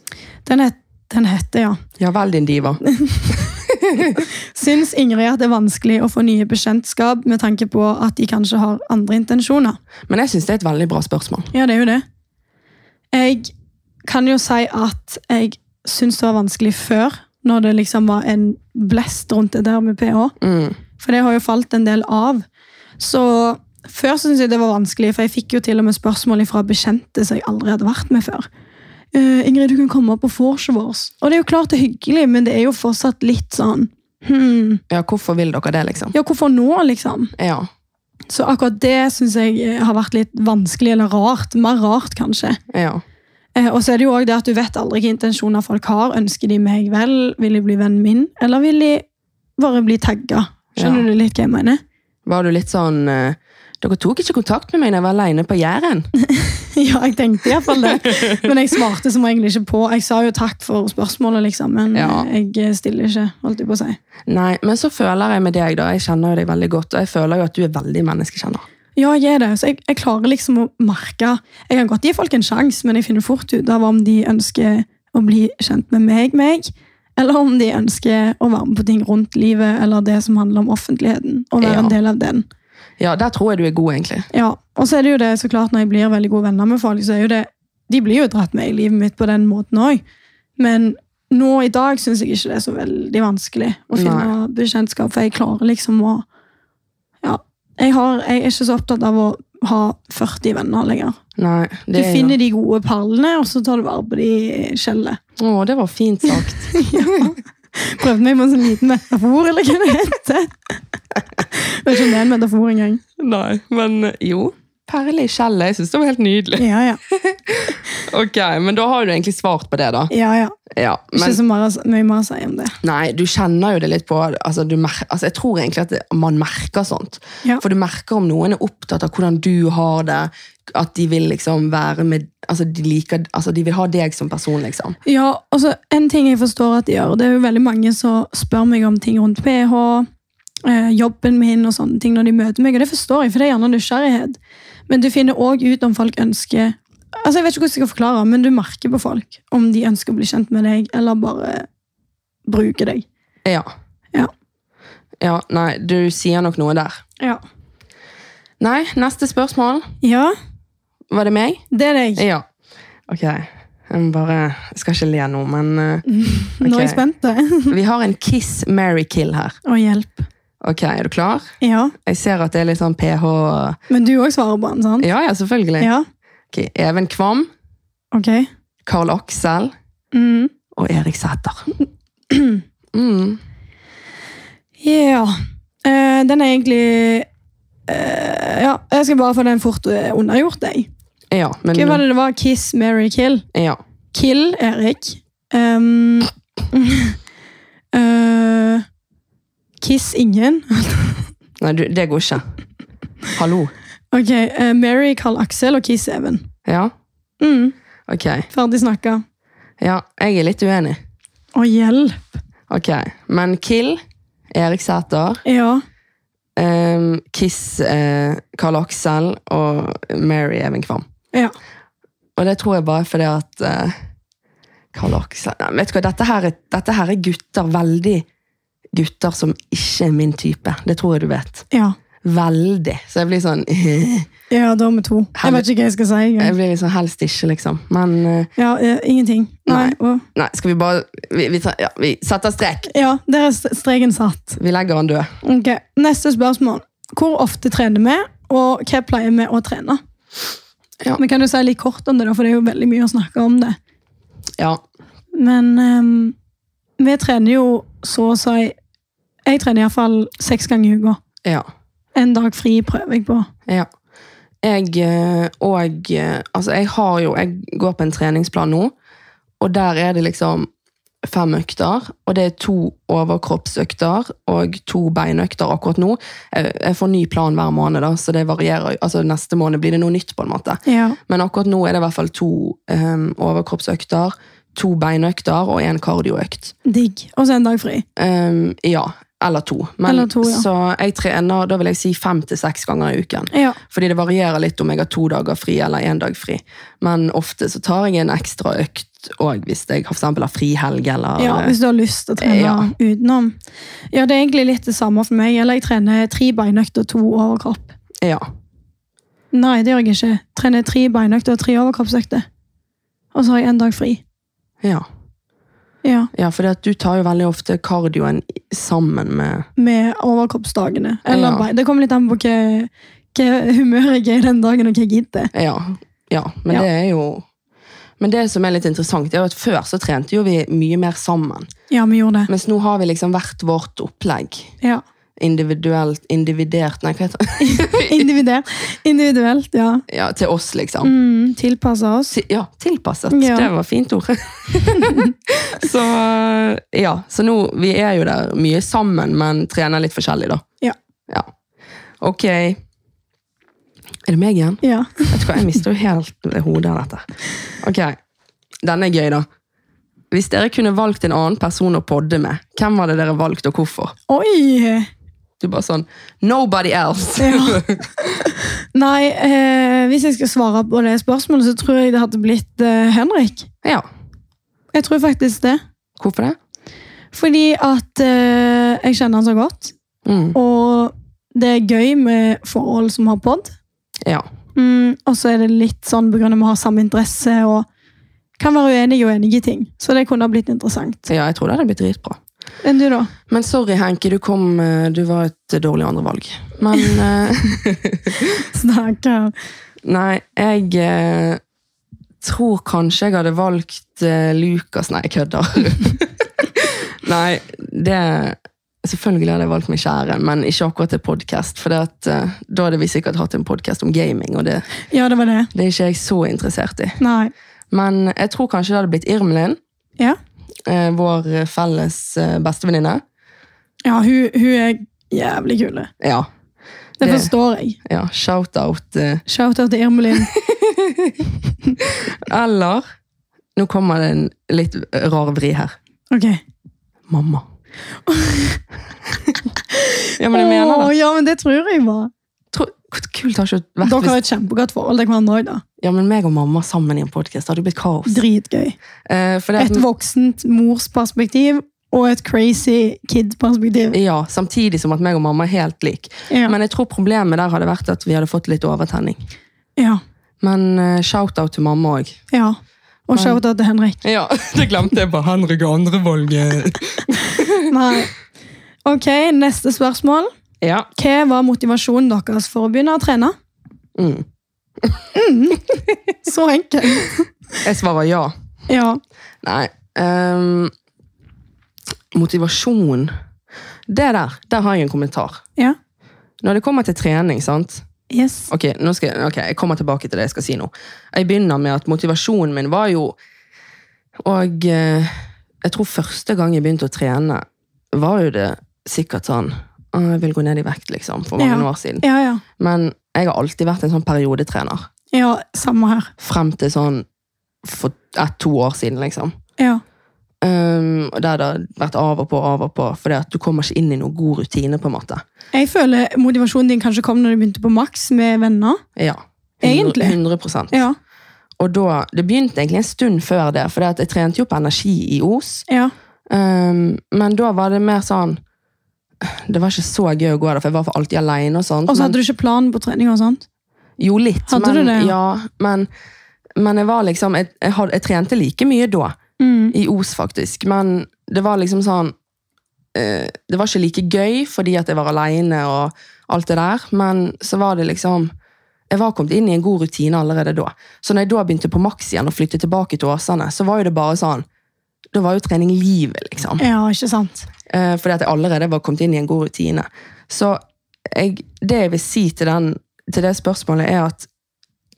Den, het, den heter, ja.
ja vel, din diva.
Syns Ingrid at det er vanskelig å få nye bekjentskap med tanke på at de kanskje har andre intensjoner?
Men jeg syns det er et veldig bra spørsmål.
Ja, det er jo det. Jeg kan jo si at jeg syns det var vanskelig før, når det liksom var en blest rundt det der med pH.
Mm.
For det har jo falt en del av. Så før så syntes jeg det var vanskelig, for jeg fikk jo til og med spørsmål fra bekjente som jeg aldri hadde vært med før. Eh, Ingrid, du kan komme på vorset vårt. Og det er jo klart det er hyggelig, men det er jo fortsatt litt sånn hmm,
Ja, hvorfor vil dere det, liksom?
Ja, hvorfor nå, liksom?
Ja.
Så akkurat det syns jeg eh, har vært litt vanskelig, eller rart. Mer rart, kanskje.
ja.
Eh, Og så er det jo også det at du vet aldri hvilke intensjoner folk har. Ønsker de meg vel? Vil de bli vennen min? Eller vil de bare bli tagga? Skjønner du litt hva jeg mener?
Var du litt sånn eh, Dere tok ikke kontakt med meg da jeg var aleine på Jæren?
ja, jeg tenkte iallfall det. Men jeg svarte som egentlig ikke på. Jeg sa jo takk for spørsmålet, liksom, men
Ja.
eh, jeg stiller ikke, holdt jeg på å si.
Nei, men så føler jeg med deg, da. Jeg kjenner jo deg veldig godt, og jeg føler jo at du er veldig menneskekjenner.
Ja, jeg er det. Så jeg, jeg klarer liksom å merke Jeg kan godt gi folk en sjanse, men jeg finner fort ut av om de ønsker å bli kjent med meg, meg, eller om de ønsker å være med på ting rundt livet, eller det som handler om offentligheten, og være
Ja.
en del av den.
Ja, der tror jeg du er god, egentlig.
Ja, og så er det jo det, så klart når jeg blir veldig gode venner med folk, så er jo det, de blir jo dratt med i livet mitt på den måten også. Men nå i dag synes jeg ikke det er så veldig vanskelig å finne bekjentskap, for jeg klarer liksom å, ja, jeg, har, jeg er ikke så opptatt av å ha 40 venner lenger.
Nei,
Du
det er
finner de gode perlene, og så tar du vare på de skjellet.
jo... Å, det var fint sagt.
Prøvde meg på en sånn liten metafor, eller hva det heter. Jeg vet ikke om det er en metafor engang.
Nei, men eh, jo. Perle i skjellet. Jeg syns det var helt nydelig.
Ja, ja.
Ok, Men da har du egentlig svart på det, da.
ja, ja.
Ja,
Ikke
men
så mye, mye mer å si om det.
Nei, du kjenner jo det litt på altså, du mer, altså, Jeg tror egentlig at det, man merker sånt.
Ja.
For du merker om noen er opptatt av hvordan du har det, at de vil liksom være med Altså, de, liker, altså, de vil ha deg som person, liksom.
Ja, altså En ting jeg forstår at de gjør, det er jo veldig mange som spør meg om ting rundt pH, eh, jobben min og sånne ting når de møter meg, og det forstår jeg, for det er gjerne nysgjerrighet. Men du finner òg ut om folk ønsker altså Jeg vet ikke hvordan jeg skal forklare, men du merker på folk om de ønsker å bli kjent med deg, eller bare bruker deg.
Ja.
Ja.
Ja, nei, du sier nok noe der.
Ja.
Nei, neste spørsmål.
ja,
Var det meg?
det er deg.
Ja. Ok. Jeg må bare jeg skal ikke le nå, men eh,
Nå er jeg
ok.
spent. Å,
vi har en kiss, marry, kill her.
hjelp.
Ok, Er du klar?
Ja.
Jeg ser at det er litt sånn ph
Men du òg svarer på den, sant?
Ja, ja, selvfølgelig.
Ja.
Ok, Even Kvam,
Ok.
Karl Aksel
Mm.
og Erik Sæther. Mm.
Ja. Eh, den er egentlig eh, Ja, jeg skal bare få den fort eh, unnagjort, jeg.
Ja, men
Hva var det det var? Kiss, marry, kill?
ja.
Kill Erik. Ehm, eh, kiss ingen.
Nei, du, det går ikke. Hallo.
Ok, eh, Mary, Carl Aksel og Kiss Even.
Ja,
Mm,
ok.
ferdig snakka.
Ja, jeg er litt uenig.
Å, hjelp!
Ok, men Kill, Erik Sæther,
Ja.
ehm, Kiss, eh, Karl Aksel og Mary Even Kvam.
ja.
Og det tror jeg bare fordi at eh, Karl Aksel Nei, Vet du hva, dette her, er, dette her er gutter, veldig gutter som ikke er min type. Det tror jeg du vet.
Ja,
Veldig. Så jeg blir sånn Jeg
ja da er vi to. Jeg vet ikke hva jeg skal si. engang.
blir liksom helst ikke, liksom. Men eh,
Ja, eh, ingenting. Nei.
Nei.
og-
nei, skal vi bare Vi, vi, tar- ja, vi setter strek.
ja, der er st- streken satt.
Vi legger han død.
Ok, Neste spørsmål. Hvor ofte trener vi, og hva pleier vi å trene?
Ja.
Men Kan du si litt kort om det, da, for det er jo veldig mye å snakke om det.
Ja.
Men ehm, vi trener jo så å si Jeg trener iallfall seks ganger i uka.
Ja.
En dag fri prøver jeg på.
ja. Jeg eh, og eh, Altså, jeg har jo Jeg går på en treningsplan nå, og der er det liksom fem økter, og det er to overkroppsøkter og to beinøkter akkurat nå. Jeg jeg får ny plan hver måned, da, så det varierer. jo. Altså, neste måned blir det noe nytt, på en måte.
Ja.
Men akkurat nå er det i hvert fall to eh, overkroppsøkter, to beinøkter og en kardioøkt.
Digg. Og så en dag fri.
Ehm, ja, eller to. Men,
Eller to, ja.
Så jeg trener da vil jeg si fem til seks ganger i uken.
Ja.
Fordi det varierer litt om jeg har to dager fri eller én dag fri. Men ofte så tar jeg en ekstra økt òg hvis jeg for eksempel har frihelg eller
ja Hvis du har lyst til å trene
Ja.
utenom. Ja, det er egentlig litt det samme for meg. Eller jeg trener tre beinøkter og to overkropp.
Ja.
Nei, det gjør jeg ikke. Trener tre beinøkter og tre overkroppsøkter. Og så har jeg en dag fri.
Ja,
Ja.
ja fordi at du tar jo veldig ofte kardioen i- sammen med
Med overkroppsdagene. Eller
Ja.
bein. Det kommer litt an på hva, hva humør jeg er den dagen, og hva jeg gidder.
Ja, ja men
Ja.
det er jo men det som er litt interessant, er jo at før så trente jo vi mye mer sammen.
Ja, vi gjorde det.
Mens nå har vi liksom hvert vårt opplegg.
Ja.
Individuelt, individert, nei hva heter det?
Individuelt, individuelt ja.
ja, til oss, liksom.
Mm, Tilpassa oss.
Ti- Ja, tilpasset.
Ja.
Det var fint ord. så ja, så nå, vi er jo der mye sammen, men trener litt forskjellig, da.
Ja.
ja. Ok. Er det meg igjen?
Ja.
Vet du hva, jeg mister jo helt hodet av dette. Ok, denne er gøy, da. Hvis dere kunne valgt en annen person å podde med, hvem var det dere valgte, og hvorfor?
Oi!
Du bare sånn Nobody else!
Ja. Nei, eh, hvis jeg skal svare på det spørsmålet, så tror jeg det hadde blitt eh, Henrik.
ja.
Jeg tror faktisk det.
Hvorfor det?
Fordi at eh, jeg kjenner han så godt,
Mm.
og det er gøy med forhold som har podd.
Ja.
Mm, og så er det litt sånn på grunn av vi har samme interesse og kan være uenige og enige i ting. Så det kunne ha blitt interessant.
ja, jeg tror det hadde blitt dritbra.
Enn du, da?
Men sorry, Henke, du kom eh, Du var et dårlig andrevalg. Men eh,
Snakker.
Nei, jeg eh, tror kanskje jeg hadde valgt eh, Lukas Nei, jeg kødder. nei, det Selvfølgelig hadde jeg valgt min kjære, men ikke akkurat til podkast. For det at, eh, da hadde vi sikkert hatt en podkast om gaming, og det,
Ja, det var det.
det er ikke jeg så interessert i.
Nei.
Men jeg tror kanskje det hadde blitt Irmelin,
Ja.
eh, vår felles eh, bestevenninne.
Ja, hun, hun er jævlig kule.
Ja.
Det,
Det-
forstår jeg.
ja Shout-out. Eh,
Shout-out til Irmelin.
Eller Nå kommer det en litt rar vri her.
Ok.
Mamma. ja, men jeg mener
Åh,
det.
ja, men det tror jeg var.
Tro, hvor kult har ikke vært
Dere har
hvis
et kjempegodt forhold til hverandre òg, da.
Ja, men meg og mamma sammen i en podkast. Det hadde blitt kaos.
Dritgøy.
Eh, fordi at-
Et voksent morsperspektiv og et crazy kid-perspektiv.
Ja, Samtidig som at meg og mamma er helt lik.
Ja.
Men jeg tror problemet der hadde vært at vi hadde fått litt overtenning.
ja.
Men eh, shout-out til mamma òg.
ja. Og shout-out til Henrik.
Ja, det glemte jeg på Henrik og andrevalget.
Nei. Ok, neste spørsmål.
Ja.
Hva var motivasjonen deres for å begynne å trene? Mm.
Mm.
Så enkelt.
Jeg svarer ja.
Ja.
Nei. ehm, motivasjon Det der, der har jeg en kommentar.
ja.
Når det kommer til trening, sant
Yes.
Ok, nå skal jeg, ok, jeg kommer tilbake til det jeg skal si nå. Jeg begynner med at motivasjonen min var jo Og eh, jeg tror første gang jeg begynte å trene, var jo det sikkert sånn «Å, Jeg vil gå ned i vekt, liksom, for mange
Ja.
år siden.
Ja, ja.
Men jeg har alltid vært en sånn periodetrener.
Ja, samme her.
Frem til sånn for ett-to år siden, liksom.
Ja.
Um, og der det har vært av og på, av og på, fordi at du kommer ikke inn i noen god rutine, på en måte.
Jeg føler motivasjonen din kanskje kom når du begynte på Max med venner.
Ja.
Egentlig.
100
Ja.
Og da, det begynte egentlig en stund før det, for jeg trente jo på energi i Os.
Ja.
Um, men da var det mer sånn Det var ikke så gøy å gå der, for jeg var for alltid alene og sånt.
Og så
men-
hadde du ikke plan på trening og sånt.
Jo, litt.
Hadde
men,
du det, ja?
Ja, men, men jeg var liksom jeg, jeg, had, jeg trente like mye da,
Mm.
i Os faktisk, men det var liksom sånn eh, Det var ikke like gøy fordi at jeg var alene og alt det der, men så var det liksom jeg var kommet inn i en god rutine allerede da. Så når jeg da begynte på Max igjen og flyttet tilbake til Åsane, så var jo det bare sånn Da var jo trening livet, liksom.
Ja, ikke sant?
Eh, fordi at jeg allerede var kommet inn i en god rutine. Så jeg, det jeg vil si til, den, til det spørsmålet, er at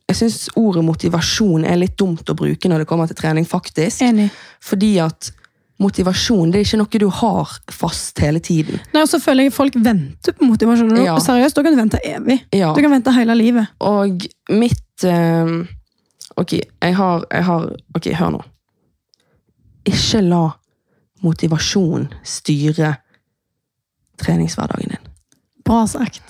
jeg syns ordet motivasjon er litt dumt å bruke når det kommer til trening, faktisk.
Enig.
Fordi at motivasjon det er ikke noe du har fast hele tiden.
Nei, og så føler jeg folk venter på motivasjon.
Ja.
Seriøst, da kan du vente evig.
Ja,
Du kan vente hele livet.
Og mitt eh, Ok, jeg har, jeg har Ok, hør nå. Ikke la motivasjon styre treningshverdagen din.
Bra sagt.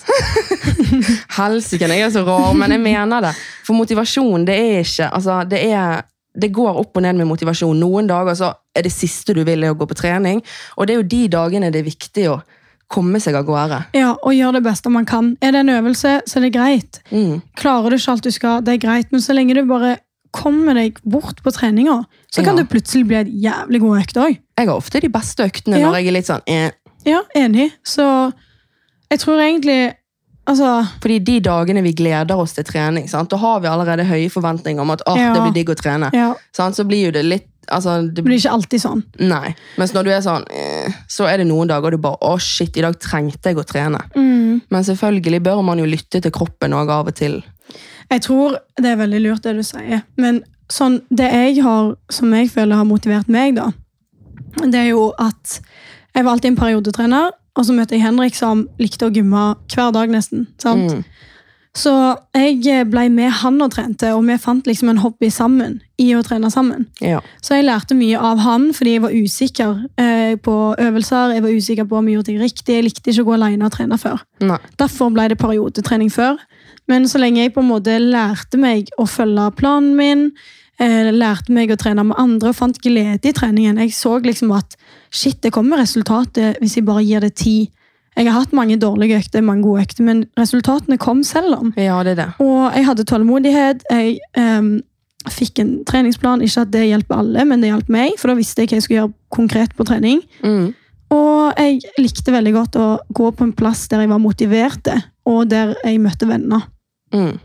Helsike, jeg er så rar, men jeg mener det. For motivasjon, det er ikke altså, det, er, det går opp og ned med motivasjon. Noen dager så er det siste du vil, er å gå på trening. Og det er jo de dagene det er viktig å komme seg av gårde.
Ja, og gjør det beste man kan. Er det en øvelse, så er det greit.
Mm.
Klarer du ikke alt du skal, det er greit, men så lenge du bare kommer deg bort på treninga, så kan
Ja.
det plutselig bli et jævlig god økt òg.
Jeg har ofte de beste øktene
Ja.
når jeg er litt sånn eh.
Ja, enig. Så jeg tror egentlig Altså,
Fordi de dagene vi gleder oss til trening, sant? da har vi allerede høye forventninger om at «Åh,
Ja.
det blir digg å trene.
ja,
Sant? Så blir jo det litt altså, det,
det blir ikke alltid sånn.
Nei. Mens når du er sånn, eh, så er det noen dager du bare Å, shit, i dag trengte jeg å trene. Men selvfølgelig bør man jo lytte til kroppen og av og til.
Jeg tror det er veldig lurt, det du sier. Men sånn, det jeg har, som jeg føler har motivert meg, da, det er jo at jeg var alltid en periodetrener, og så møtte jeg Henrik, som likte å gymme hver dag, nesten. sant?
Mm.
Så jeg ble med han og trente, og vi fant liksom en hobby sammen i å trene sammen.
Ja.
Så jeg lærte mye av han, fordi jeg var usikker eh, på øvelser, jeg var usikker på om jeg gjorde ting riktig, jeg likte ikke å gå alene og trene før.
Nei.
Derfor ble det periodetrening før. Men så lenge jeg på en måte lærte meg å følge planen min, eh, lærte meg å trene med andre og fant glede i treningen, jeg så liksom at shit, det kommer resultatet hvis jeg bare gir det tid. Jeg har hatt mange dårlige økter, mange gode økter, men resultatene kom selv om.
ja, det er det.
Og jeg hadde tålmodighet. Jeg em, fikk en treningsplan. Ikke at det hjelper alle, men det hjalp meg, for da visste jeg hva jeg skulle gjøre konkret på trening.
Mm.
Og jeg likte veldig godt å gå på en plass der jeg var motivert, og der jeg møtte venner.
Mm.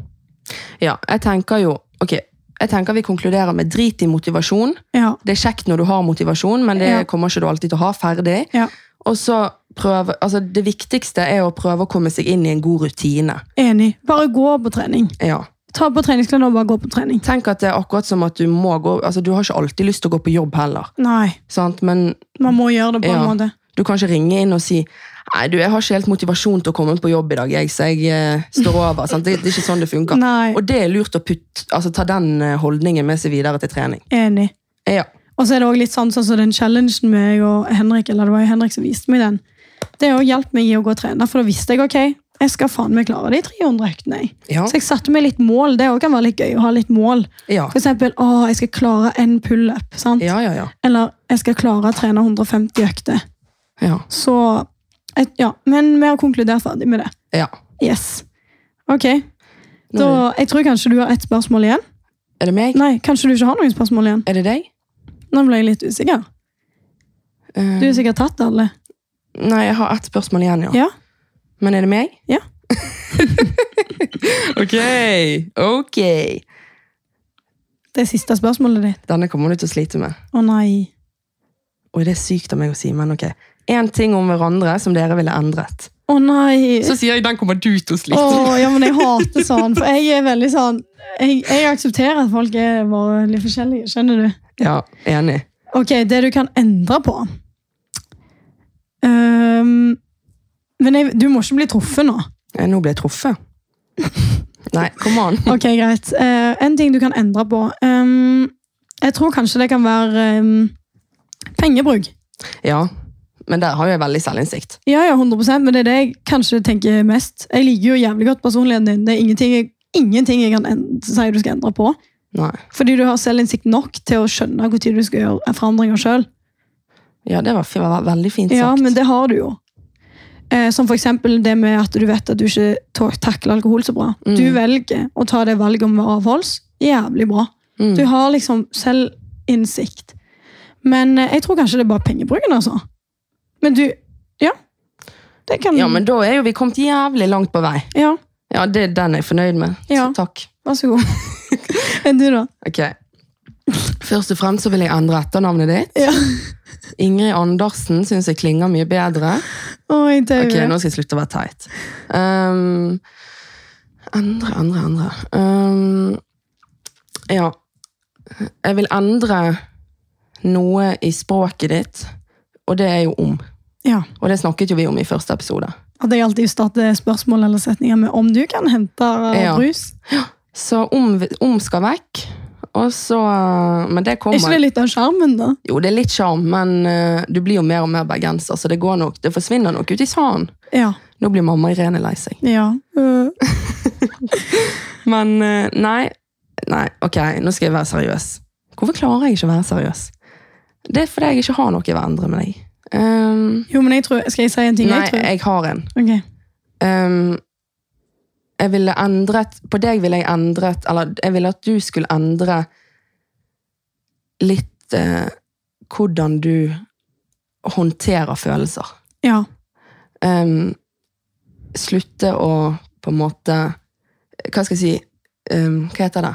Ja, jeg tenker jo Ok, jeg tenker vi konkluderer med drit i motivasjon.
Ja,
Det er kjekt når du har motivasjon, men det
Ja.
kommer ikke du alltid til å ha ferdig.
Ja.
Og så prøve, altså Det viktigste er å prøve å komme seg inn i en god rutine.
Enig. Bare gå på trening.
Ja.
Ta på treningsklærne og bare gå på trening.
Tenk at det er akkurat som at du må gå altså Du har ikke alltid lyst til å gå på jobb heller,
Nei,
sant? men
man må gjøre det på en
Ja.
måte.
Du kan ikke ringe inn og si Nei, du, jeg har ikke helt motivasjon til å komme på jobb i dag, jeg, så jeg eh, står over. sant? Det, det er ikke sånn det funker.
Nei,
Og det er lurt å putt, altså, ta den eh, holdningen med seg videre til trening.
enig.
Ja.
Og så er det også litt sånn, sånn som den challengen med jeg og Henrik, eller det var jo Henrik som viste meg den. Det har også hjulpet meg i å gå og trene, for da visste jeg ok, jeg skal faen meg klare de 300 øktene. jeg.
Ja.
Så jeg satte meg litt mål. Det også kan være litt gøy å ha litt mål.
Ja.
For eksempel, å, jeg skal klare en pull-up. sant?
Ja, ja, ja.
Eller jeg skal klare å trene 150 økter.
Ja.
Så et, ja, men vi har konkludert ferdig med det.
ja.
Yes. Ok. Da, jeg tror kanskje du har ett spørsmål igjen.
Er det meg?
Nei, kanskje du ikke har noen spørsmål igjen.
Er det deg?
Nå ble jeg litt usikker.
Eh,
Du har sikkert tatt alle.
Nei, jeg har ett spørsmål igjen, ja.
Ja?
Men er det meg?
Ja.
ok. Ok.
Det er siste spørsmålet ditt.
Denne kommer du til å slite med.
Å nei.
Og det er sykt av meg å si, men ok. En ting om hverandre som dere ville endret.
Å nei.
Så sier jeg den kommer du til å slite med.
Åh, ja, men jeg hater sånn, for jeg er veldig sånn Jeg, jeg aksepterer at folk er bare litt forskjellige, skjønner du?
Ja, enig.
Ok, det du kan endre på Ehm, Men jeg, du må ikke bli truffet nå.
Eh, Nå ble jeg truffet. Nei, kom an.
Ok, greit. Eh, en ting du kan endre på Ehm, Jeg tror kanskje det kan være ehm, pengebruk.
Ja, men der har jo jeg veldig selvinnsikt.
Ja, ja, 100 men det er det jeg kanskje tenker mest. Jeg liker jo jævlig godt personligheten din. Det er ingenting jeg, ingenting jeg kan en- si du skal endre på.
Nei.
Fordi du har selvinnsikt nok til å skjønne når du skal gjøre forandringer sjøl.
Ja, det var, fi- var veldig fint sagt.
Ja, men det har du jo. Eh, som for eksempel det med at du vet at du ikke ta- takler alkohol så bra.
Mm.
Du velger å ta det valget om å være avholds. Jævlig bra.
Mm.
Du har liksom selvinnsikt. Men eh, jeg tror kanskje det er bare pengebruken, altså. Men du Ja. Det kan
Ja, men da er jo vi kommet jævlig langt på vei.
Ja,
Ja, det er den jeg er fornøyd med.
Ja.
Så takk.
vær så god. Enn du, da?
Ok. Først og fremst så vil jeg endre etternavnet ditt.
Ja.
Ingrid Andersen synes jeg klinger mye bedre.
Oi, det
Ok, nå skal jeg slutte å være teit. Um, endre, endre, endre. Um, ja. Jeg vil endre noe i språket ditt, og det er jo om.
ja.
Og det snakket jo vi om i første episode.
At jeg alltid starter spørsmål eller setninger med om du kan hente eh,
Ja.
brus.
Så om, om skal vekk, og så Men det
Er
kommer.
ikke det litt av sjarmen, da?
Jo, det er litt sjarm, men eh, du blir jo mer og mer bergenser, så det går nok. Det forsvinner nok ut i sanden.
Ja.
Nå blir mamma Irene lei seg.
ja. Øh.
Men eh, nei, nei, ok, nå skal jeg være seriøs. Hvorfor klarer jeg ikke å være seriøs? Det er fordi jeg ikke har noe å endre med deg. Ehm,
Jo, men jeg tror, Skal jeg si en ting?
nei,
jeg tror?
jeg har en.
Ok.
Ehm, jeg ville endret, på deg ville jeg endret, eller jeg ville at du skulle endre litt eh, hvordan du håndterer følelser.
Ja.
Ehm, slutte å på en måte Hva skal jeg si Ehm, Hva heter det?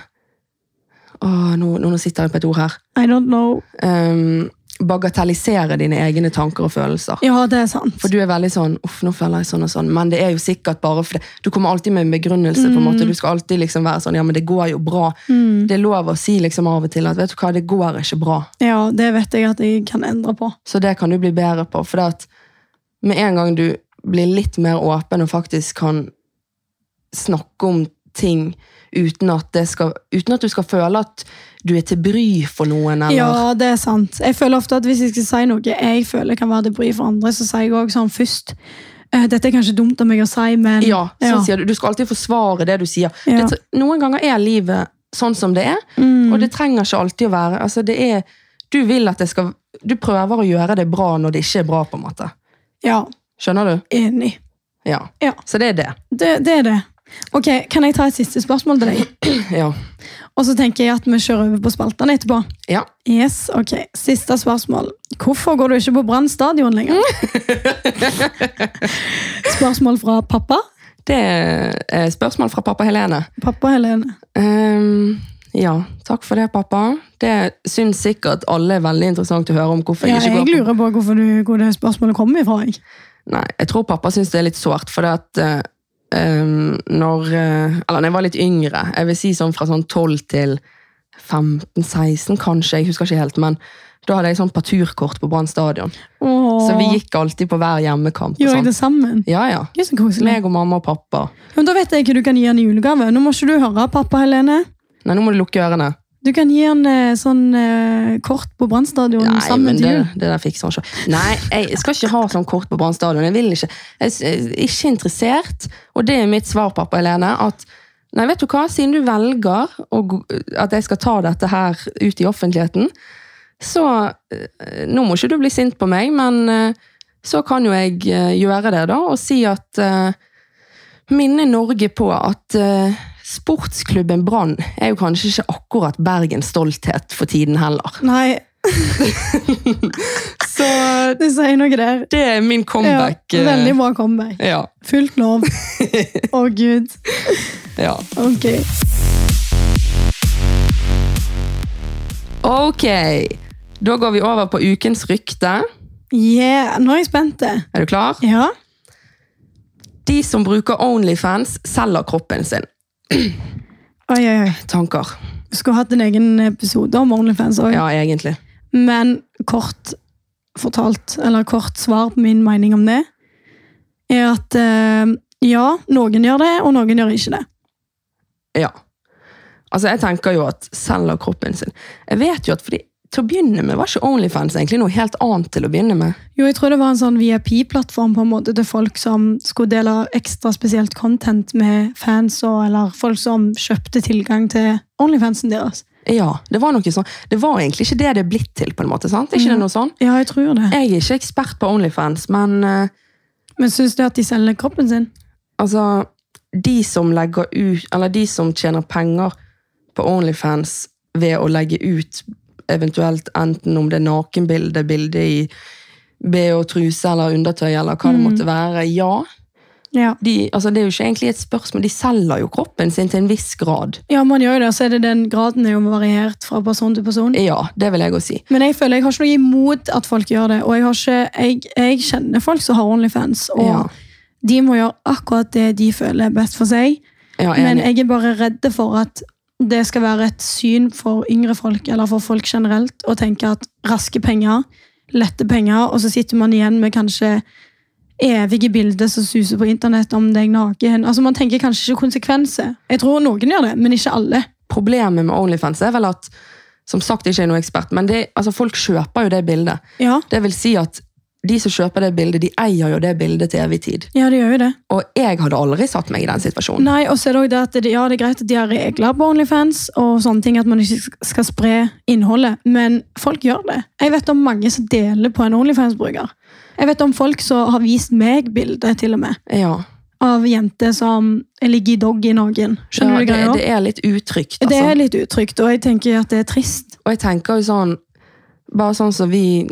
Åh, nå, nå nå sitter jeg på et ord her.
I don't know.
Ehm, bagatellisere dine egne tanker og følelser.
Ja, det er sant.
For du er veldig sånn uff, nå føler jeg sånn og sånn, men det er jo sikkert bare fordi Du kommer alltid med en begrunnelse. på en måte, Du skal alltid liksom være sånn ja, men det går jo bra.
Mm.
Det er lov å si liksom av og til at vet du hva, det går ikke bra.
Ja, det vet jeg at jeg kan endre på.
Så det kan du bli bedre på. For det at med en gang du blir litt mer åpen og faktisk kan snakke om ting uten at, det skal, uten at du skal føle at du er til bry for noen, eller
Ja, det er sant. Jeg føler ofte at hvis jeg skal si noe jeg føler kan være til bry for andre, så sier jeg også sånn først eh, Dette er kanskje dumt av meg å si, men
sånn sier du. Du skal alltid forsvare det du sier.
Ja.
Det, noen ganger er livet sånn som det er,
Mm.
og det trenger ikke alltid å være. Altså, det er, du vil at det skal Du prøver å gjøre det bra når det ikke er bra, på en måte.
ja,
Skjønner du?
enig.
Ja.
Ja.
Så det er det.
Det, det er det. Ok, Kan jeg ta et siste spørsmål til deg?
Ja.
Og så tenker jeg at vi kjører over på spaltene etterpå.
ja.
Yes, ok. Siste spørsmål. Hvorfor går du ikke på Brann stadion lenger? spørsmål fra pappa.
Det er spørsmål fra pappa Helene.
Pappa Helene.
Ehm, ja, takk for det, pappa. Det syns sikkert alle er veldig interessant å høre om hvorfor
Ja,
jeg ikke
jeg
går på-
lurer på hvorfor du, hvor det spørsmålet kommer ifra. Jeg.
Nei, jeg tror pappa syns det er litt sårt, for det at eh, ehm, når eh, Eller når jeg var litt yngre, jeg vil si sånn fra sånn 12 til 15-16, kanskje, jeg husker ikke helt, men da hadde jeg sånn parturkort på Brann stadion.
Åh,
Så vi gikk alltid på hver hjemmekamp. og
Gjør jeg
sånn.
det sammen?
Ja, ja.
Gud, så koselig.
Meg og mamma og pappa.
Men da vet jeg hva du kan gi han i julegave. Nå må ikke du høre, pappa Helene.
Nei, nå må du lukke ørene.
Du kan gi han eh, sånn eh, kort på Brannstadion
Nei,
sammen
men
med
det,
du.
det der fikser han selv. Nei, jeg skal ikke ha sånn kort på Brann stadion. Jeg vil ikke. Jeg er ikke interessert. Og det er mitt svar, pappa Helene, at nei, vet du hva, siden du velger å, gå- at jeg skal ta dette her ut i offentligheten, så eh, nå må ikke du bli sint på meg, men eh, så kan jo jeg eh, gjøre det da, og si at eh, minne Norge på at eh, sportsklubben Brann er jo kanskje ikke akkurat Bergens stolthet for tiden heller.
Nei,
Så
det sier noe der.
det er min comeback.
Ja,
eh,
veldig bra comeback.
Ja,
Fullt lov. Å, gud.
ja.
Ok.
Ok, da går vi over på ukens rykte.
Yeah, nå er jeg spent.
Er du klar?
Ja.
De som bruker Onlyfans, selger kroppen sin.
Oi, oi, oi.
Tanker.
Skulle hatt en egen episode om OnlyFans òg.
Ja, egentlig.
Men kort fortalt, eller kort svar på min mening om det, er at eh, ja, noen gjør det, og noen gjør ikke det.
Ja. Altså, jeg tenker jo at selger kroppen sin. Jeg vet jo at fordi, til å begynne med var ikke Onlyfans egentlig noe helt annet til å begynne med.
Jo, jeg tror det var en sånn VIP-plattform på en måte til folk som skulle dele ekstra spesielt content med fans, og, eller folk som kjøpte tilgang til Onlyfansen deres.
Ja, det var noe sånn. Det var egentlig ikke det det er blitt til, på en måte, sant? Er
Mm.
ikke det noe sånn?
Ja, jeg tror det.
Jeg er ikke ekspert på Onlyfans, men eh,
Men syns du at de selger kroppen sin?
altså, de som legger ut, eller de som tjener penger på Onlyfans ved å legge ut eventuelt enten om det er nakenbilde, bilde i BH truse eller undertøy, eller hva
Mm.
det måtte være, ja.
Ja.
De, altså, det er jo ikke egentlig et spørsmål, de selger jo kroppen sin til en viss grad.
ja, man gjør jo det, så er det den graden er jo variert fra person til person.
Ja, det vil jeg også si.
Men jeg føler jeg har ikke noe imot at folk gjør det, og jeg, har ikke, jeg, jeg kjenner folk som har Onlyfans, og
Ja.
de må gjøre akkurat det de føler er best for seg.
Ja,
Men
enig.
jeg er bare redd for at det skal være et syn for yngre folk, eller for folk generelt, å tenke at raske penger, lette penger, og så sitter man igjen med kanskje evige bilder som suser på internett om deg naken. Altså Man tenker kanskje ikke konsekvenser. Jeg tror noen gjør det, men ikke alle.
Problemet med Onlyfans er vel at, som sagt, jeg ikke er noen ekspert, men det, altså, folk kjøper jo det bildet.
Ja,
Det vil si at de som kjøper det bildet, de eier jo det bildet til evig tid.
ja det gjør jo det.
Og jeg hadde aldri satt meg i den situasjonen.
Nei, og så er det også det at det, ja, det er greit at de har regler på Onlyfans, og sånne ting at man ikke sk- skal spre innholdet, men folk gjør det. Jeg vet om mange som deler på en Onlyfans-bruker. Jeg vet om folk som har vist meg bilder til og med,
Ja,
av jenter som ligger i dogg i noen.
ja
Skjønner du
det,
greia?
det er litt utrygt,
Det
altså.
er litt utrygt, og jeg tenker at det er trist.
Og jeg tenker jo sånn, bare sånn som vi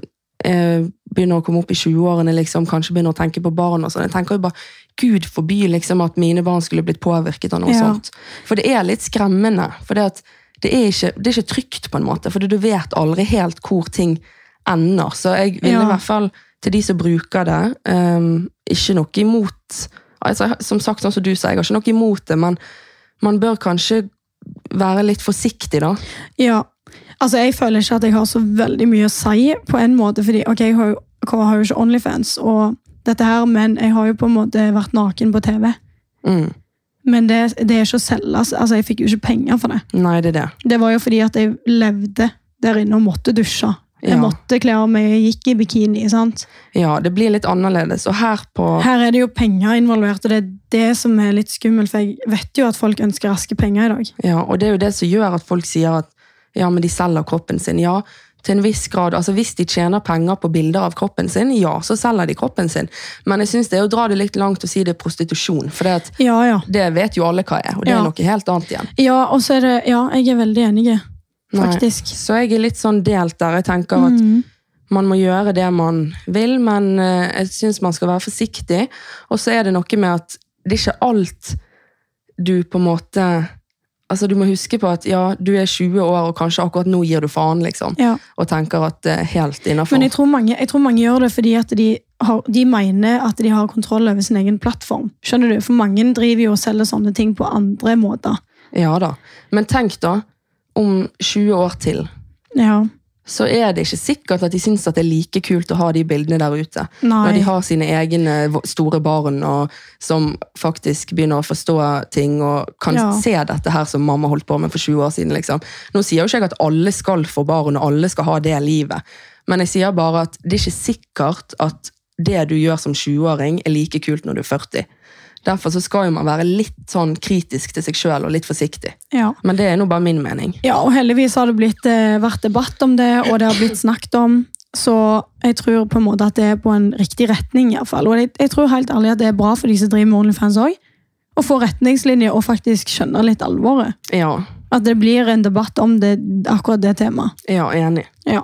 eh, begynner å komme opp i 20-årene, liksom, kanskje begynner å tenke på barn og sånn. Jeg tenker jo bare, Gud forby liksom at mine barn skulle blitt påvirket av noe
Ja.
sånt. For det er litt skremmende, for det, at det, er ikke, det er ikke trygt på en måte, for du vet aldri helt hvor ting ender. Så jeg ville
Ja.
i hvert fall til de som bruker det, ehm, ikke noe imot, altså, jeg har- som sagt, sånn som du sa, jeg har ikke noe imot det, men man bør kanskje være litt forsiktig da.
Ja, altså jeg føler ikke at jeg har så veldig mye å si på en måte, fordi ok, jeg har jo, jeg har jo ikke Onlyfans og dette her, men jeg har jo på en måte vært naken på TV.
Mm.
Men det, det er ikke å selge. altså. Altså, jeg fikk jo ikke penger for det.
Nei, det er det.
Det var jo fordi at jeg levde der inne og måtte dusje. Jeg
Ja.
måtte kle av meg, jeg gikk i bikini. sant?
Ja, det blir litt annerledes. Og her på
Her er det jo penger involvert, og det er det som er litt skummelt. For jeg vet jo at folk ønsker raske penger i dag.
ja, Og det er jo det som gjør at folk sier at ja, men de selger kroppen sin. Ja, til en viss grad. Altså Hvis de tjener penger på bilder av kroppen sin, ja, så selger de kroppen sin. Men jeg syns det er å dra det litt langt å si det er prostitusjon. For det, at,
Ja, ja.
det vet jo alle hva er, og det
Ja.
er noe helt annet igjen.
Ja, og så er det, ja, jeg er veldig enig,
Nei.
faktisk.
Så jeg er litt sånn delt der. Jeg tenker at
Mm.
man må gjøre det man vil, men eh, jeg syns man skal være forsiktig. Og så er det noe med at det er ikke alt du på en måte Altså, du må huske på at ja, du er 20 år, og kanskje akkurat nå gir du faen, liksom.
Ja.
Og tenker at det er helt innafor.
Men jeg tror, mange, jeg tror mange gjør det fordi at de, har, de mener at de har kontroll over sin egen plattform. Skjønner du? For mange driver jo og selger sånne ting på andre måter.
Ja da. Men tenk da, om 20 år til,
Ja.
så er det ikke sikkert at de syns at det er like kult å ha de bildene der ute. Når de
Nei.
har sine egne vo- store barn og, som faktisk begynner å forstå ting og kan
Ja.
se dette her som mamma holdt på med for 20 år siden. Liksom. Nå sier jo ikke jeg at alle skal få barn og alle skal ha det livet, men jeg sier bare at det er ikke sikkert at det du gjør som 20-åring er like kult når du er 40. Derfor så skal jo man være litt sånn kritisk til seg sjøl og litt forsiktig.
Ja.
Men det er nå bare min mening.
Ja, og heldigvis har det blitt, eh, vært debatt om det, og det har blitt snakket om. Så jeg tror på en måte at det er på en riktig retning. i hvert fall. Og jeg, jeg tror helt ærlig at det er bra for de som driver med OnlyFans òg. Å få retningslinjer og faktisk skjønne litt alvoret.
Ja,
At det blir en debatt om det, akkurat det temaet.
ja enig.
Ja.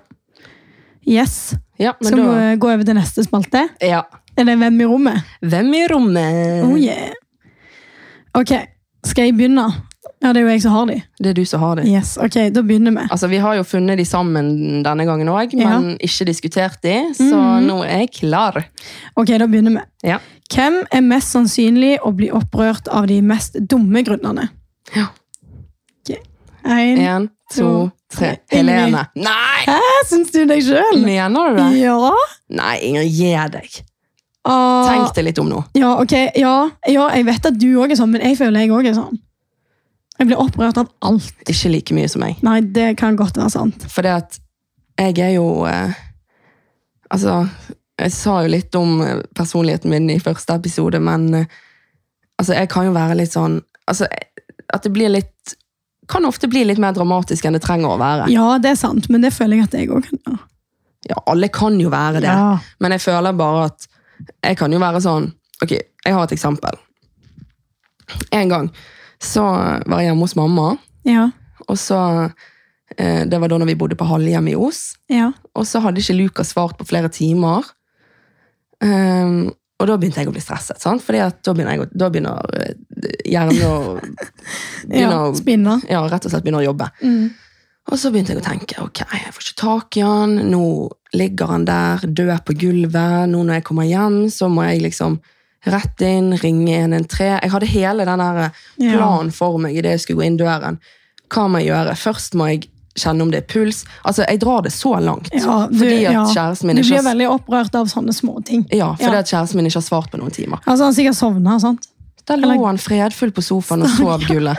Yes.
Ja, men
Skal
da,
vi gå over til neste spalte?
ja.
Er det Hvem i rommet?
Hvem i rommet?
Oh yeah. Ok, skal jeg begynne? Ja, det er jo jeg som har de.
Det er du som har det.
Yes, ok, Da begynner vi.
Altså, Vi har jo funnet de sammen denne gangen òg,
Ja. Mhm.
men ikke diskutert de, så nå er jeg klar.
Ok, da begynner vi.
Ja.
Hvem er mest sannsynlig å bli opprørt av de mest dumme grunnene?
Ja.
Ok, en.
Én, to,
To,
tre.
tre.
Helene. Nei!
Hæ, syns du deg sjøl?
Mener du det?
Ja.
Nei, Ingrid, gi deg.
Ah,
Tenk deg litt om nå.
ja, ok, ja, ja, jeg vet at du òg er sånn, men jeg føler jeg òg er sånn. Jeg blir opprørt av alt.
Ikke like mye som meg.
Nei, det kan godt være sant.
For det at jeg er jo eh, Altså, jeg sa jo litt om eh, personligheten min i første episode, men eh, altså, jeg kan jo være litt sånn altså, eh, At det blir litt Kan ofte bli litt mer dramatisk enn det trenger å være.
Ja, det er sant, men det føler jeg at jeg òg kan gjøre.
Ja, alle kan jo være det.
Ja.
Men jeg føler bare at jeg kan jo være sånn Ok, jeg har et eksempel. En gang så var jeg hjemme hos mamma,
Ja,
og så eh, Det var da når vi bodde på halvhjem i Os.
ja.
Og så hadde ikke Lukas svart på flere timer. Ehm, og da begynte jeg å bli stresset, sant? Fordi at da begynner, jeg, å- da begynner eh, hjernen å begynner,
ja Spinne.
ja, rett og slett begynner å jobbe.
Mm.
Og så begynte jeg å tenke ok, jeg får ikke tak i han, nå ligger han der, død på gulvet. Nå når jeg kommer hjem, så må jeg liksom rett inn, ringe 113. Jeg hadde hele den der
Ja.
planen for meg idet jeg skulle gå inn døren. Hva må jeg gjøre? Først må jeg kjenne om det er puls. Altså, Jeg drar det så langt.
Ja, du-
fordi at
ja.
kjæresten
Du
min ikke
blir
har,
veldig opprørt av sånne småting.
ja, fordi
Ja.
at kjæresten min ikke har svart på noen timer.
Altså, han sikkert sovna, sant?
Der lå
Eller-
han fredfull på sofaen og sov gullet.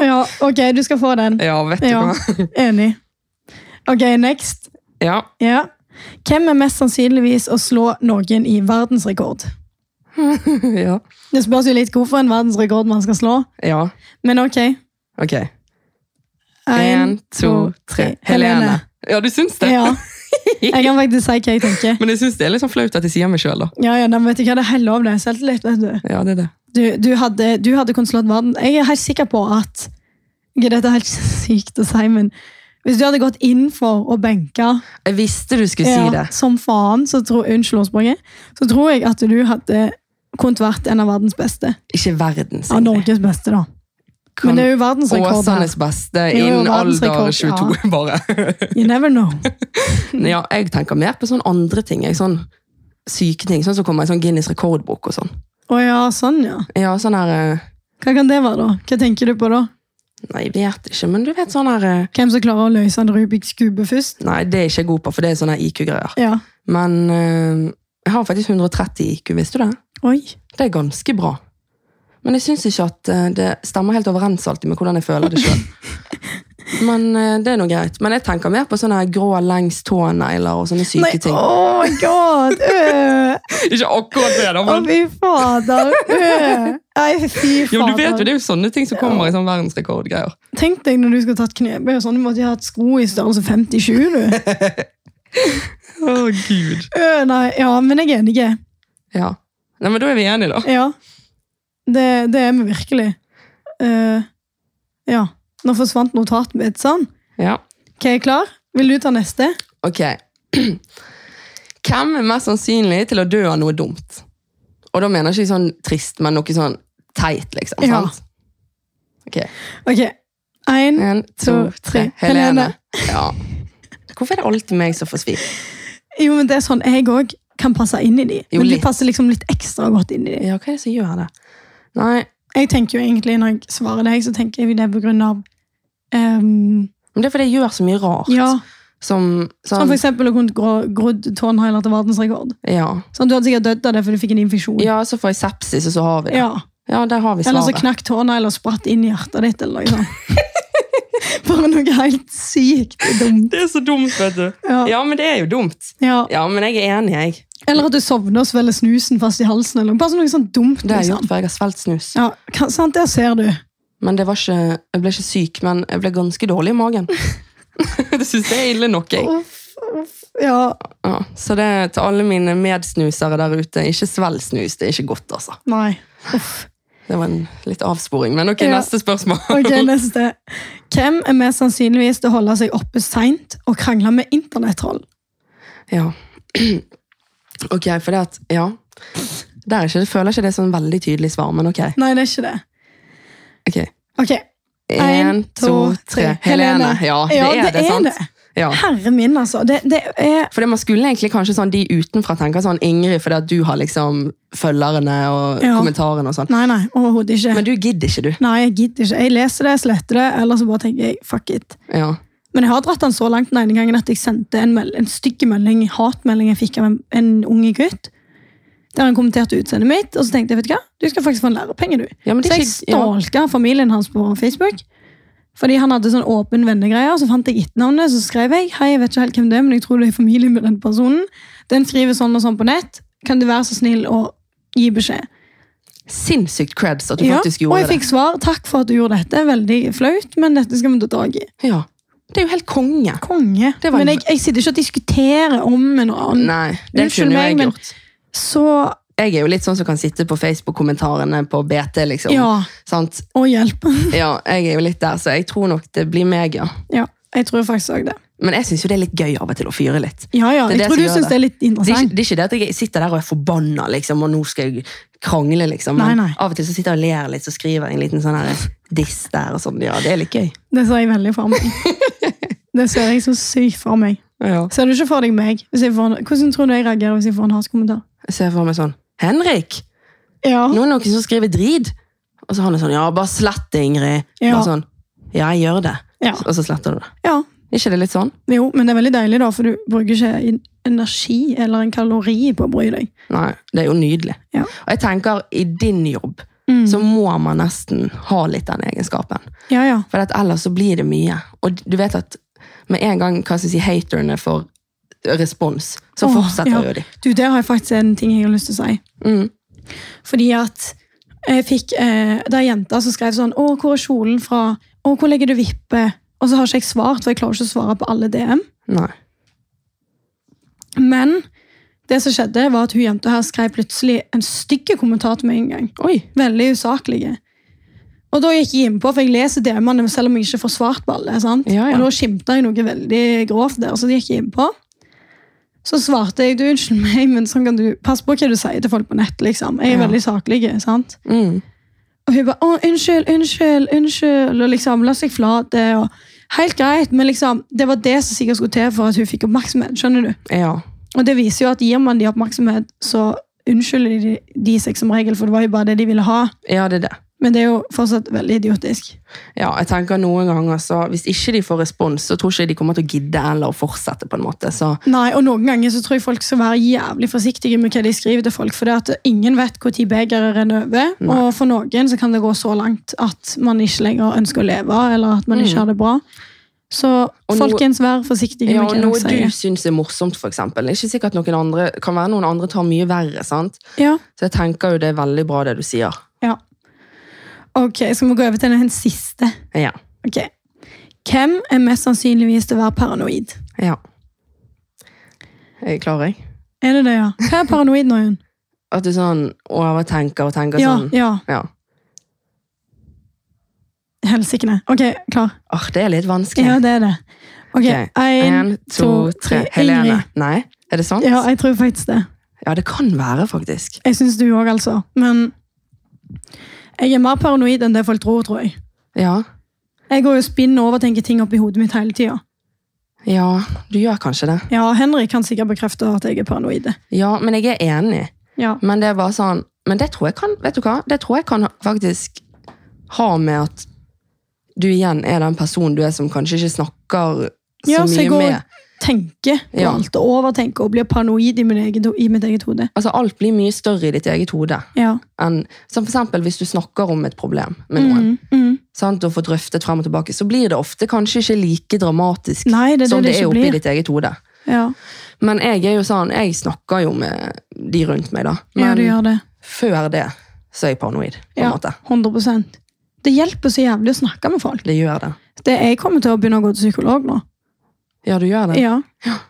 Ja, ok, du skal få den.
Ja, vet du
Ja,
hva.
enig. Ok, next.
Ja.
Ja. Hvem er mest sannsynligvis å slå noen i verdensrekord?
ja.
Det spørs jo litt hvorfor en verdensrekord man skal slå,
Ja.
men ok.
Ok.
En,
En, to, tre. Helene. Ja, du syns det?
Ja. Jeg kan faktisk si hva jeg tenker.
Men jeg syns det er litt sånn flaut at jeg sier meg sjøl, da.
Ja, ja, nei, men vet du hva, det er helt lov, det er selvtillit, vet du.
Ja, det er det.
Du, du, hadde, du hadde kunnet slått verden. Jeg er helt sikker på at Ok, Dette er helt sykt å si, men hvis du hadde gått inn for å benke
Jeg visste du skulle si det.
ja, som faen, så tror, unnskyld ordspråket, så tror jeg at du hadde kunnet vært en av verdens beste.
Ikke verdens.
Av Norges beste, da.
Kan-
Men det er jo verdensrekord. her.
Åsenes beste
Jo,
innen alder
verdensrekord,
22, bare.
You never know.
ja, jeg tenker mer på sånn andre ting. Jeg, sånn syke ting. Sånn som kommer i sånn Guinness rekordbok og sånn.
Å ja, sånn, ja.
Ja, sånn her eh,
Hva kan det være, da? Hva tenker du på da?
Nei, jeg vet ikke, men du vet sånn her eh,
Hvem som klarer å løse en Rubiks kube først?
Nei, det er ikke jeg god på, for det er sånne IQ-greier.
Ja.
Men eh, jeg har faktisk 130 IQ, visste du det?
Oi.
Det er ganske bra. Men jeg syns ikke at eh, det stemmer helt overens alltid med hvordan jeg føler det sjøl. Men eh, det er nå greit. Men jeg tenker mer på sånne her grå lengst tånegler og sånne syke
Nei,
ting.
oh my god! Øh.
Ikke akkurat det, da,
Å, fy fader! Øh. Nei, fy fader.
Jo, du vet jo, Det er jo sånne ting som kommer i sånn verdensrekordgreier.
Tenk deg når du skulle tatt knebøy og sånn, du måtte jo ha hatt sko i størrelse 57, du.
Å, Gud.
Øh, nei, ja, men jeg er enig.
Ja. Nei, men Da er vi enige, da.
Ja. Det, det er vi virkelig. Eh, ja. Nå forsvant notatet mitt, sånn.
Ja.
Ok, jeg er klar? Vil du ta neste?
Ok. Hvem er mest sannsynlig til å dø av noe dumt? Og da mener jeg ikke sånn trist, men noe sånn teit, liksom.
Ja.
sant? Ok.
Ok. Én
En, to, tre. Helene. Ja. Hvorfor er det alltid meg som får svi?
Jo, men det er sånn jeg òg kan passe inn i de.
Jo,
men de
litt.
passer liksom litt ekstra godt inn i de.
Ja, hva er det som gjør det? Nei,
Jeg tenker jo egentlig, Når jeg svarer deg, så tenker jeg det er på grunn av ehm,
men det er fordi jeg gjør så mye rart.
Ja,
Som, sånn,
Som for eksempel å kunne grå- grodd tårnheiler til verdensrekord.
ja.
Sånn, du hadde sikkert dødd av det fordi du fikk en infeksjon.
ja, så får jeg sepsis, og så har vi det.
Ja.
Ja, der har vi
Eller så
svaret.
knakk tånegler og spratt inn i hjertet ditt. eller noe sånt. Bare noe helt sykt dumt.
Det er så dumt, vet du.
Ja.
Ja, men det er jo dumt.
Ja.
Ja, men jeg er enig, jeg.
Eller at du sovner og svelger snusen fast i halsen. eller noe. Bare sånn noe sånn dumt.
Det har jeg
Liksom.
gjort før jeg har svelget snus.
Ja, ka- sant, Der ser du.
Men det var ikke, jeg ble ikke syk, men jeg ble ganske dårlig i magen. det syns jeg er ille nok, jeg.
Uff, uff. Ja,
Ja, så det er til alle mine medsnusere der ute, ikke svelg snus. Det er ikke godt, altså.
nei. Uff.
Det var en litt avsporing, men ok,
Ja.
neste spørsmål.
Ok, neste. Hvem er mest sannsynligvis til å holde seg oppe seint og krangle med internettroll?
Ja. Ok, for det at, ja. Der er ikke, jeg føler ikke det er sånn veldig tydelig svar, men ok.
Nei, det er ikke det.
Ok.
Ok,
En, to, tre. Helene. Ja, det er det, sant?
det.
Ja.
Herre min, altså. Det, det er
For det man skulle egentlig kanskje sånn, de utenfra tenker sånn, Ingrid, fordi at du har liksom følgerne og
Ja.
kommentarene og sånn.
Nei, nei, overhodet ikke.
Men du gidder ikke, du.
Nei, jeg gidder ikke. Jeg leser det, jeg sletter det, eller så bare tenker jeg fuck it.
Ja.
Men jeg har dratt den så langt den ene gangen at jeg sendte en, mel- en stygg melding, hatmelding jeg fikk av en, en unge gutt. Der han kommenterte utseendet mitt, og så tenkte jeg vet du hva, du skal faktisk få en lærepenge, du.
Ja, men det
så
er
jeg
ikke- ja.
stalka familien hans på Facebook. Fordi han hadde sånn åpen vennegreie, så fant jeg etternavnet, så skrev jeg hei, jeg vet ikke helt hvem det er, men jeg tror du er i familie med den personen. Den skriver sånn og sånn på nett. Kan du være så snill å gi beskjed?
Sinnssykt creds at du
Ja,
faktisk
og
gjorde
jeg fikk svar. Takk for at du gjorde dette. Veldig flaut, men dette skal vi ta tak i.
det. Ja. Det er jo helt konge.
Konge.
Det var en-
Men jeg, jeg sitter ikke og diskuterer om noe annet.
Nei, det
Unnskyld
kunne jo
meg,
jeg
men-
gjort.
Så
Jeg er jo litt sånn som kan sitte på Facebook-kommentarene på BT, liksom.
ja,
Sant?
og hjelp.
Ja, jeg er jo litt der, så jeg tror nok det blir meg, ja.
Ja, jeg tror faktisk også det.
Men jeg syns jo det er litt gøy av og til å fyre litt.
Ja, ja,
Det er det
jeg tror
som
du
gjør
syns
det.
det er litt
Det er, ikke,
interessant.
det er ikke det at jeg sitter der og er forbanna, liksom, og nå skal jeg krangle. liksom. Men
Nei, nei.
av og til så sitter jeg og ler litt, så skriver jeg en liten sånn her diss der. og sånn. Ja, det er litt gøy.
Det ser jeg veldig for meg. Det ser jeg så sykt for meg.
Ja.
Ser du ikke for deg meg? Hvis jeg får en, hvordan tror du jeg reagerer hvis jeg får en hatkommentar?
Jeg ser for meg sånn Henrik!
Ja.
Nå er det noen som skriver drit! Og så han er sånn Ja, bare slett det, Ingrid.
Ja.
Bare sånn, ja, jeg gjør det.
Ja.
Og så sletter du det.
ja.
Er ikke det litt sånn?
Jo, men det er veldig deilig, da, for du bruker ikke en- energi eller en kalori på å bry deg.
Nei, det er jo nydelig.
Ja.
Og jeg tenker, i din jobb
Mm.
så må man nesten ha litt den egenskapen.
Ja, ja.
For at ellers så blir det mye. Og du vet at med en gang hva skal jeg si, haterne får respons, så
Åh,
fortsetter
ja.
jo de.
Du, der har jeg faktisk en ting jeg har lyst til å si.
Mm.
Fordi at jeg fikk eh, Det er jenter som skrev sånn 'Å, hvor er kjolen fra?' 'Å, hvor legger du vippe?' Og så har ikke jeg svart, for jeg klarer ikke å svare på alle DM.
Nei.
Men det som skjedde, var at hun jenta her skrev plutselig en stygg kommentar til meg en gang.
Oi.
Veldig usaklige. Og da gikk jeg innpå, for jeg leser DM-ene selv om jeg ikke får svart på alle. sant?
Ja, ja.
Og da skimta jeg noe veldig grovt der, så det gikk jeg innpå. Så svarte jeg du, unnskyld meg, men sånn kan du passe på hva du sier til folk på nett. liksom. Jeg er
Ja.
veldig saklig. sant?
Mm.
Og hun bare 'Å, unnskyld, unnskyld, unnskyld', og liksom la seg flate. og Helt greit, men liksom, det var det som sikkert skulle til for at hun fikk oppmerksomhet. skjønner du?
Ja.
Og det viser jo at gir man de oppmerksomhet, så unnskylder de, de seg som regel, for det var jo bare det de ville ha.
ja, det er det.
Men det er jo fortsatt veldig idiotisk.
Ja, jeg tenker noen ganger så, Hvis ikke de får respons, så tror ikke jeg de kommer til å gidde eller å fortsette. på en måte. Så
Nei, og Noen ganger så tror jeg folk skal være jævlig forsiktige med hva de skriver til folk, for det at ingen vet når begeret renner over.
Nei.
Og for noen så kan det gå så langt at man ikke lenger ønsker å leve, eller at man
Mm.
ikke har det bra. Så
Og noe-
folkens, vær forsiktige
ja,
med
og
hva
Noe
dere
du
sier.
syns er morsomt, for eksempel. Det er ikke sikkert noen andre, kan være noen andre tar mye verre. sant?
Ja.
Så jeg tenker jo det er veldig bra, det du sier.
Ok, skal vi gå over til den siste?
Ja.
Ok. Hvem er mest sannsynligvis til å være paranoid?
ja. Jeg klarer jeg?
Er det det, ja? Hva er paranoid nå, Jon?
At du sånn overtenker og tenker
Ja,
sånn.
ja.
Ja.
Helsikene. Ok, klar.
Åh, det er litt vanskelig.
Ja, det er det. Ok,
Ok,
en, to, tre.
Helene.
Ingrid.
Nei, er det sant?
Ja, jeg tror faktisk det.
Ja, det kan være, faktisk.
Jeg syns du òg, altså. Men jeg er mer paranoid enn det folk tror, tror jeg.
Ja.
Jeg går jo spinn og overtenker ting oppi hodet mitt hele tida.
ja, du gjør kanskje det.
Ja, Henrik kan sikkert bekrefte at jeg er paranoid.
Ja, men jeg er enig.
Ja.
Men det er bare sånn Men det tror jeg kan Vet du hva? Det tror jeg kan faktisk ha med at du igjen er den personen du er som kanskje ikke snakker så
Ja,
mye
så jeg går-
med.
tenker på
Ja.
alt og overtenker og blir paranoid i, min egen, ho- i mitt eget hode.
Altså, alt blir mye større i ditt eget hode.
Ja.
enn som for eksempel hvis du snakker om et problem med noen,
Mm, mm.
sant, og får drøftet frem og tilbake, så blir det ofte kanskje ikke like dramatisk
Nei, det er
som det,
det det
er
ikke
oppe i
blir.
ditt eget hode.
Ja,
Men jeg er jo sånn, jeg snakker jo med de rundt meg da.
ja
Men
det gjør det.
før det, så er jeg paranoid, på en
Ja,
måte.
100 Det hjelper så jævlig å snakke med folk.
Det gjør det.
Det, jeg kommer til å begynne å gå til psykolog nå.
Ja, du gjør det.
Ja,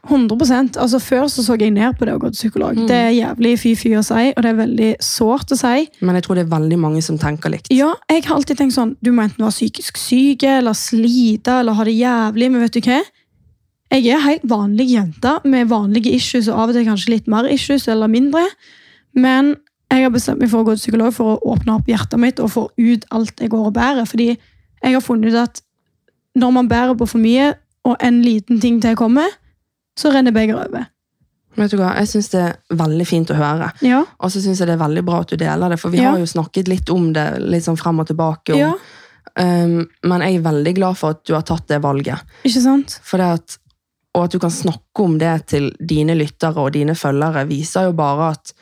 100 Altså Før så så jeg ned på det å gå til psykolog. Det er jævlig fy-fy å si, og det er veldig sårt å si.
Men jeg tror det er veldig mange som tenker likt.
Ja, jeg har alltid tenkt sånn Du må enten være psykisk syk, eller slite, eller ha det jævlig, men vet du hva? Jeg er helt vanlig jente med vanlige issues, og av og til kanskje litt mer issues eller mindre. Men jeg har bestemt meg for å gå til psykolog for å åpne opp hjertet mitt og få ut alt jeg går og bærer. Fordi jeg har funnet ut at når man bærer på for mye, og en liten ting til kommer, så renner begeret over.
Vet du hva, jeg synes det er veldig fint å høre.
Ja,
Og så synes jeg det er veldig bra at du deler det, for vi
Ja.
har jo snakket litt om det, litt sånn frem og tilbake. Om,
ja,
um, men jeg er veldig glad for at du har tatt det valget.
ikke sant?
For det at, og at du kan snakke om det til dine lyttere og dine følgere, viser jo bare at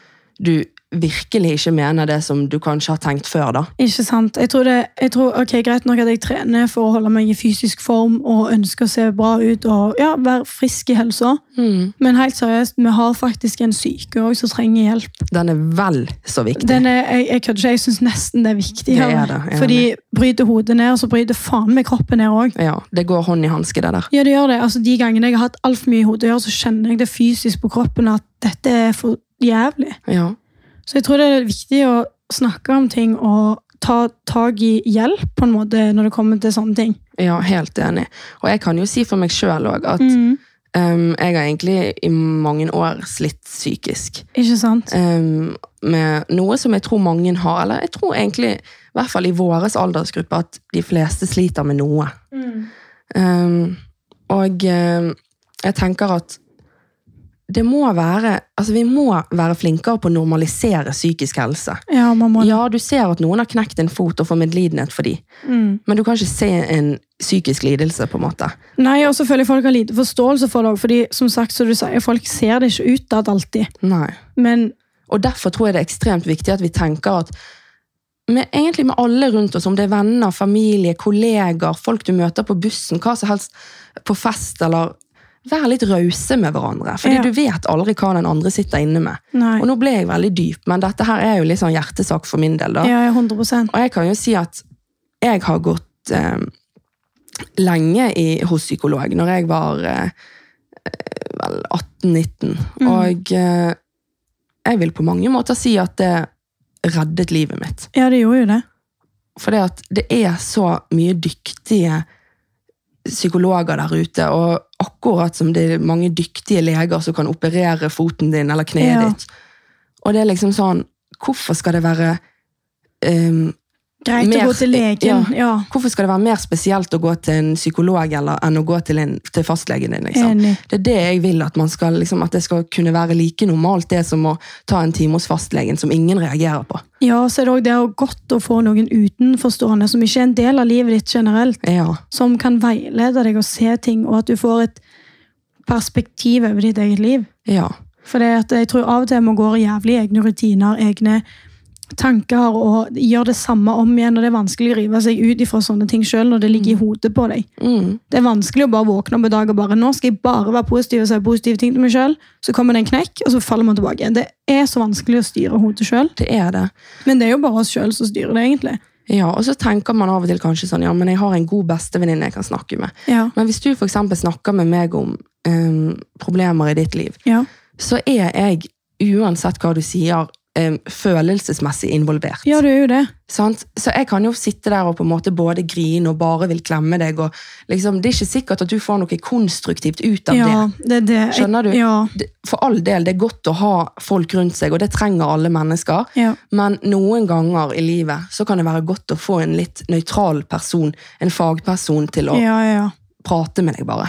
du virkelig ikke mener det som du kanskje har tenkt før. da.
Ikke sant. Jeg tror det, jeg tror, ok, Greit nok at jeg trener for å holde meg i fysisk form og ønsker å se bra ut og ja, være frisk i helsa, men helt seriøst, vi har faktisk en syke også som trenger hjelp.
Den er vel så viktig.
Den er, jeg jeg kødder ikke, jeg syns nesten det er viktig.
Det er
her.
det, jeg er
Fordi bryter hodet ned, så bryter faen meg kroppen ned òg.
Ja, Det går hånd i hanske, det der.
Ja, det gjør det. Altså, de gangene jeg har hatt altfor mye i hodet å gjøre, så kjenner jeg det fysisk på kroppen at dette er for jævlig.
Ja.
Så jeg tror det er viktig å snakke om ting og ta tak i hjelp på en måte når det kommer til sånne ting.
ja, helt enig. Og jeg kan jo si for meg sjøl òg at
Mm.
um, jeg har egentlig i mange år slitt psykisk.
Ikke sant?
Ehm, med noe som jeg tror mange har, eller jeg tror egentlig, i hvert fall i våres aldersgruppe, at de fleste sliter med noe. Ehm, og ehm, jeg tenker at det må være, altså vi må være flinkere på å normalisere psykisk helse.
Ja, man må
Ja, du ser at noen har knekt en fot og får medlidenhet for de,
Mm.
men du kan ikke se en psykisk lidelse, på en måte.
Nei, og så føler jeg folk har lite forståelse for det òg, fordi som sagt, som du sier, folk ser det ikke utad alltid.
Nei.
Men
Og derfor tror jeg det er ekstremt viktig at vi tenker at med, egentlig med alle rundt oss, om det er venner, familie, kolleger, folk du møter på bussen, hva som helst, på fest eller Vær litt rause med hverandre, fordi
Ja.
du vet aldri hva den andre sitter inne med.
nei.
Og nå ble jeg veldig dyp, men dette her er jo litt sånn hjertesak for min del. da.
Ja, ja, 100
Og jeg kan jo si at jeg har gått eh, lenge i, hos psykolog, når jeg var eh, vel 18-19.
Mm.
Og eh, jeg vil på mange måter si at det reddet livet mitt.
Ja, det gjorde jo det.
For det, at det er så mye dyktige psykologer der ute, og akkurat som det er mange dyktige leger som kan operere foten din eller kneet
Ja.
ditt. Og det er liksom sånn, hvorfor skal det være eh,
Greit
Mer-
å gå til legen. Ja,
Hvorfor skal det være mer spesielt å gå til en psykolog eller, enn å gå til, en, til fastlegen din? Liksom?
enig.
Det er det jeg vil, at, man skal, liksom, at det skal kunne være like normalt det som å ta en time hos fastlegen som ingen reagerer på.
Ja, så er det òg det er godt å få noen utenforstående som ikke er en del av livet ditt generelt,
Ja,
som kan veilede deg og se ting, og at du får et perspektiv over ditt eget liv.
ja,
For det at jeg tror av og til man går jævlig i egne rutiner, egne tanker, og gjør det samme om igjen, og det er vanskelig å rive seg ut ifra sånne ting sjøl når det ligger i hodet på deg.
mm,
Det er vanskelig å bare våkne opp i dag og bare nå skal jeg bare være positiv og si positive ting til meg sjøl, så kommer det en knekk, og så faller man tilbake. igjen. Det er så vanskelig å styre hodet sjøl,
det er det.
men det er jo bare oss sjøl som styrer det, egentlig.
Ja, og så tenker man av og til kanskje sånn, ja, men jeg har en god bestevenninne jeg kan snakke med.
Ja.
Men hvis du for eksempel snakker med meg om em, problemer i ditt liv,
Ja.
så er jeg, uansett hva du sier, em, følelsesmessig involvert.
ja, du er jo det.
Sant? Så jeg kan jo sitte der og på en måte både grine og bare vil klemme deg. Og liksom, det er ikke sikkert at du får noe konstruktivt ut av
Ja, det, er det. Jeg-
Skjønner du?
Ja.
det. For all del, det er godt å ha folk rundt seg, og det trenger alle mennesker.
ja.
Men noen ganger i livet så kan det være godt å få en litt nøytral person, en fagperson, til å
Ja, ja, ja.
prate med deg, bare.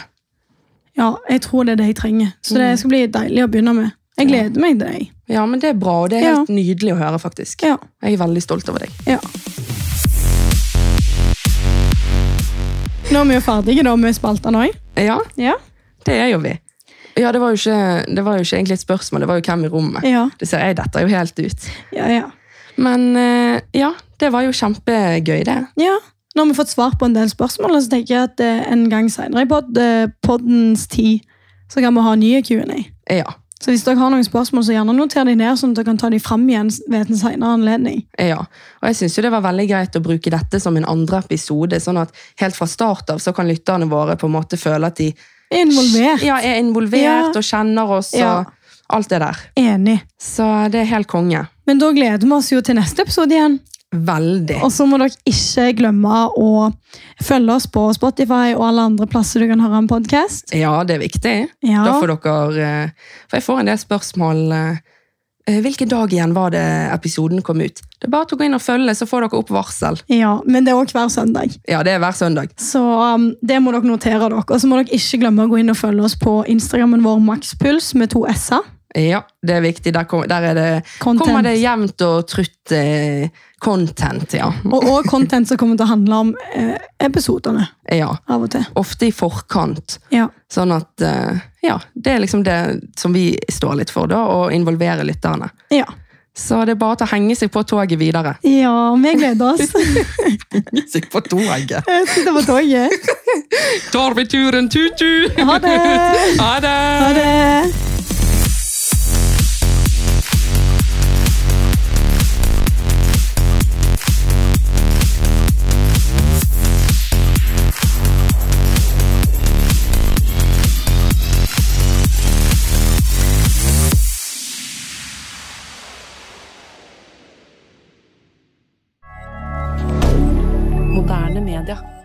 ja, jeg tror det er det jeg trenger. Så det skal bli deilig å begynne med. Jeg gleder meg til deg.
Ja, men det er bra, og det er
Ja.
helt nydelig å høre, faktisk.
Ja.
Jeg er veldig stolt over deg.
Ja. Nå er vi jo ferdige da med spaltene òg.
Ja,
Ja.
det er jo vi. Ja, det var, jo ikke, det var jo ikke egentlig et spørsmål, det var jo hvem i rommet.
Ja,
Det ser jeg detter jo helt ut.
ja, ja.
Men eh, ja, det var jo kjempegøy, det.
ja. Nå har vi fått svar på en del spørsmål, og så tenker jeg at eh, en gang senere i pod, eh, poddens tid, så kan vi ha nye Q&A.
Ja.
Så hvis dere har noen spørsmål, så gjerne noter de ned, sånn at dere kan ta de fram igjen ved en senere anledning.
Ja, og jeg synes jo det var veldig greit å bruke dette som en andre episode, sånn at helt fra start av så kan lytterne våre på en måte føle at de
Involvert.
Ja, er involvert og kjenner oss
Ja.
og alt det der.
Enig.
Så det er helt konge.
Men da gleder vi oss jo til neste episode igjen.
Veldig.
Og så må dere ikke glemme å følge oss på Spotify og alle andre plasser du kan høre en podkast.
Ja, det er viktig.
Ja.
Da får dere eh, For jeg får en del spørsmål eh, eh, Hvilken dag igjen var det episoden kom ut? Det er bare til å gå inn og følge, så får dere opp varsel.
ja, men det er òg hver søndag.
Ja, det er hver søndag.
Så um, det må dere notere dere. Og så må dere ikke glemme å gå inn og følge oss på Instagrammen vår Makspuls med to s-er.
Ja, det er viktig. Der, kom, der er det,
Content.
kommer det jevnt og trutt eh, content, ja.
Og, og content som kommer til å handle om eh, episodene
ja.
av og til.
Ofte i forkant.
Ja.
Sånn at eh, Ja, det er liksom det som vi står litt for, da, å involvere lytterne.
Ja.
Så det er bare til å henge seg på toget videre.
ja, vi gleder oss.
Seg på toget?
Jeg Sitter på toget.
Tar vi turen tutu!
Ha det!
Ha det!
Ha det!
Moderne media.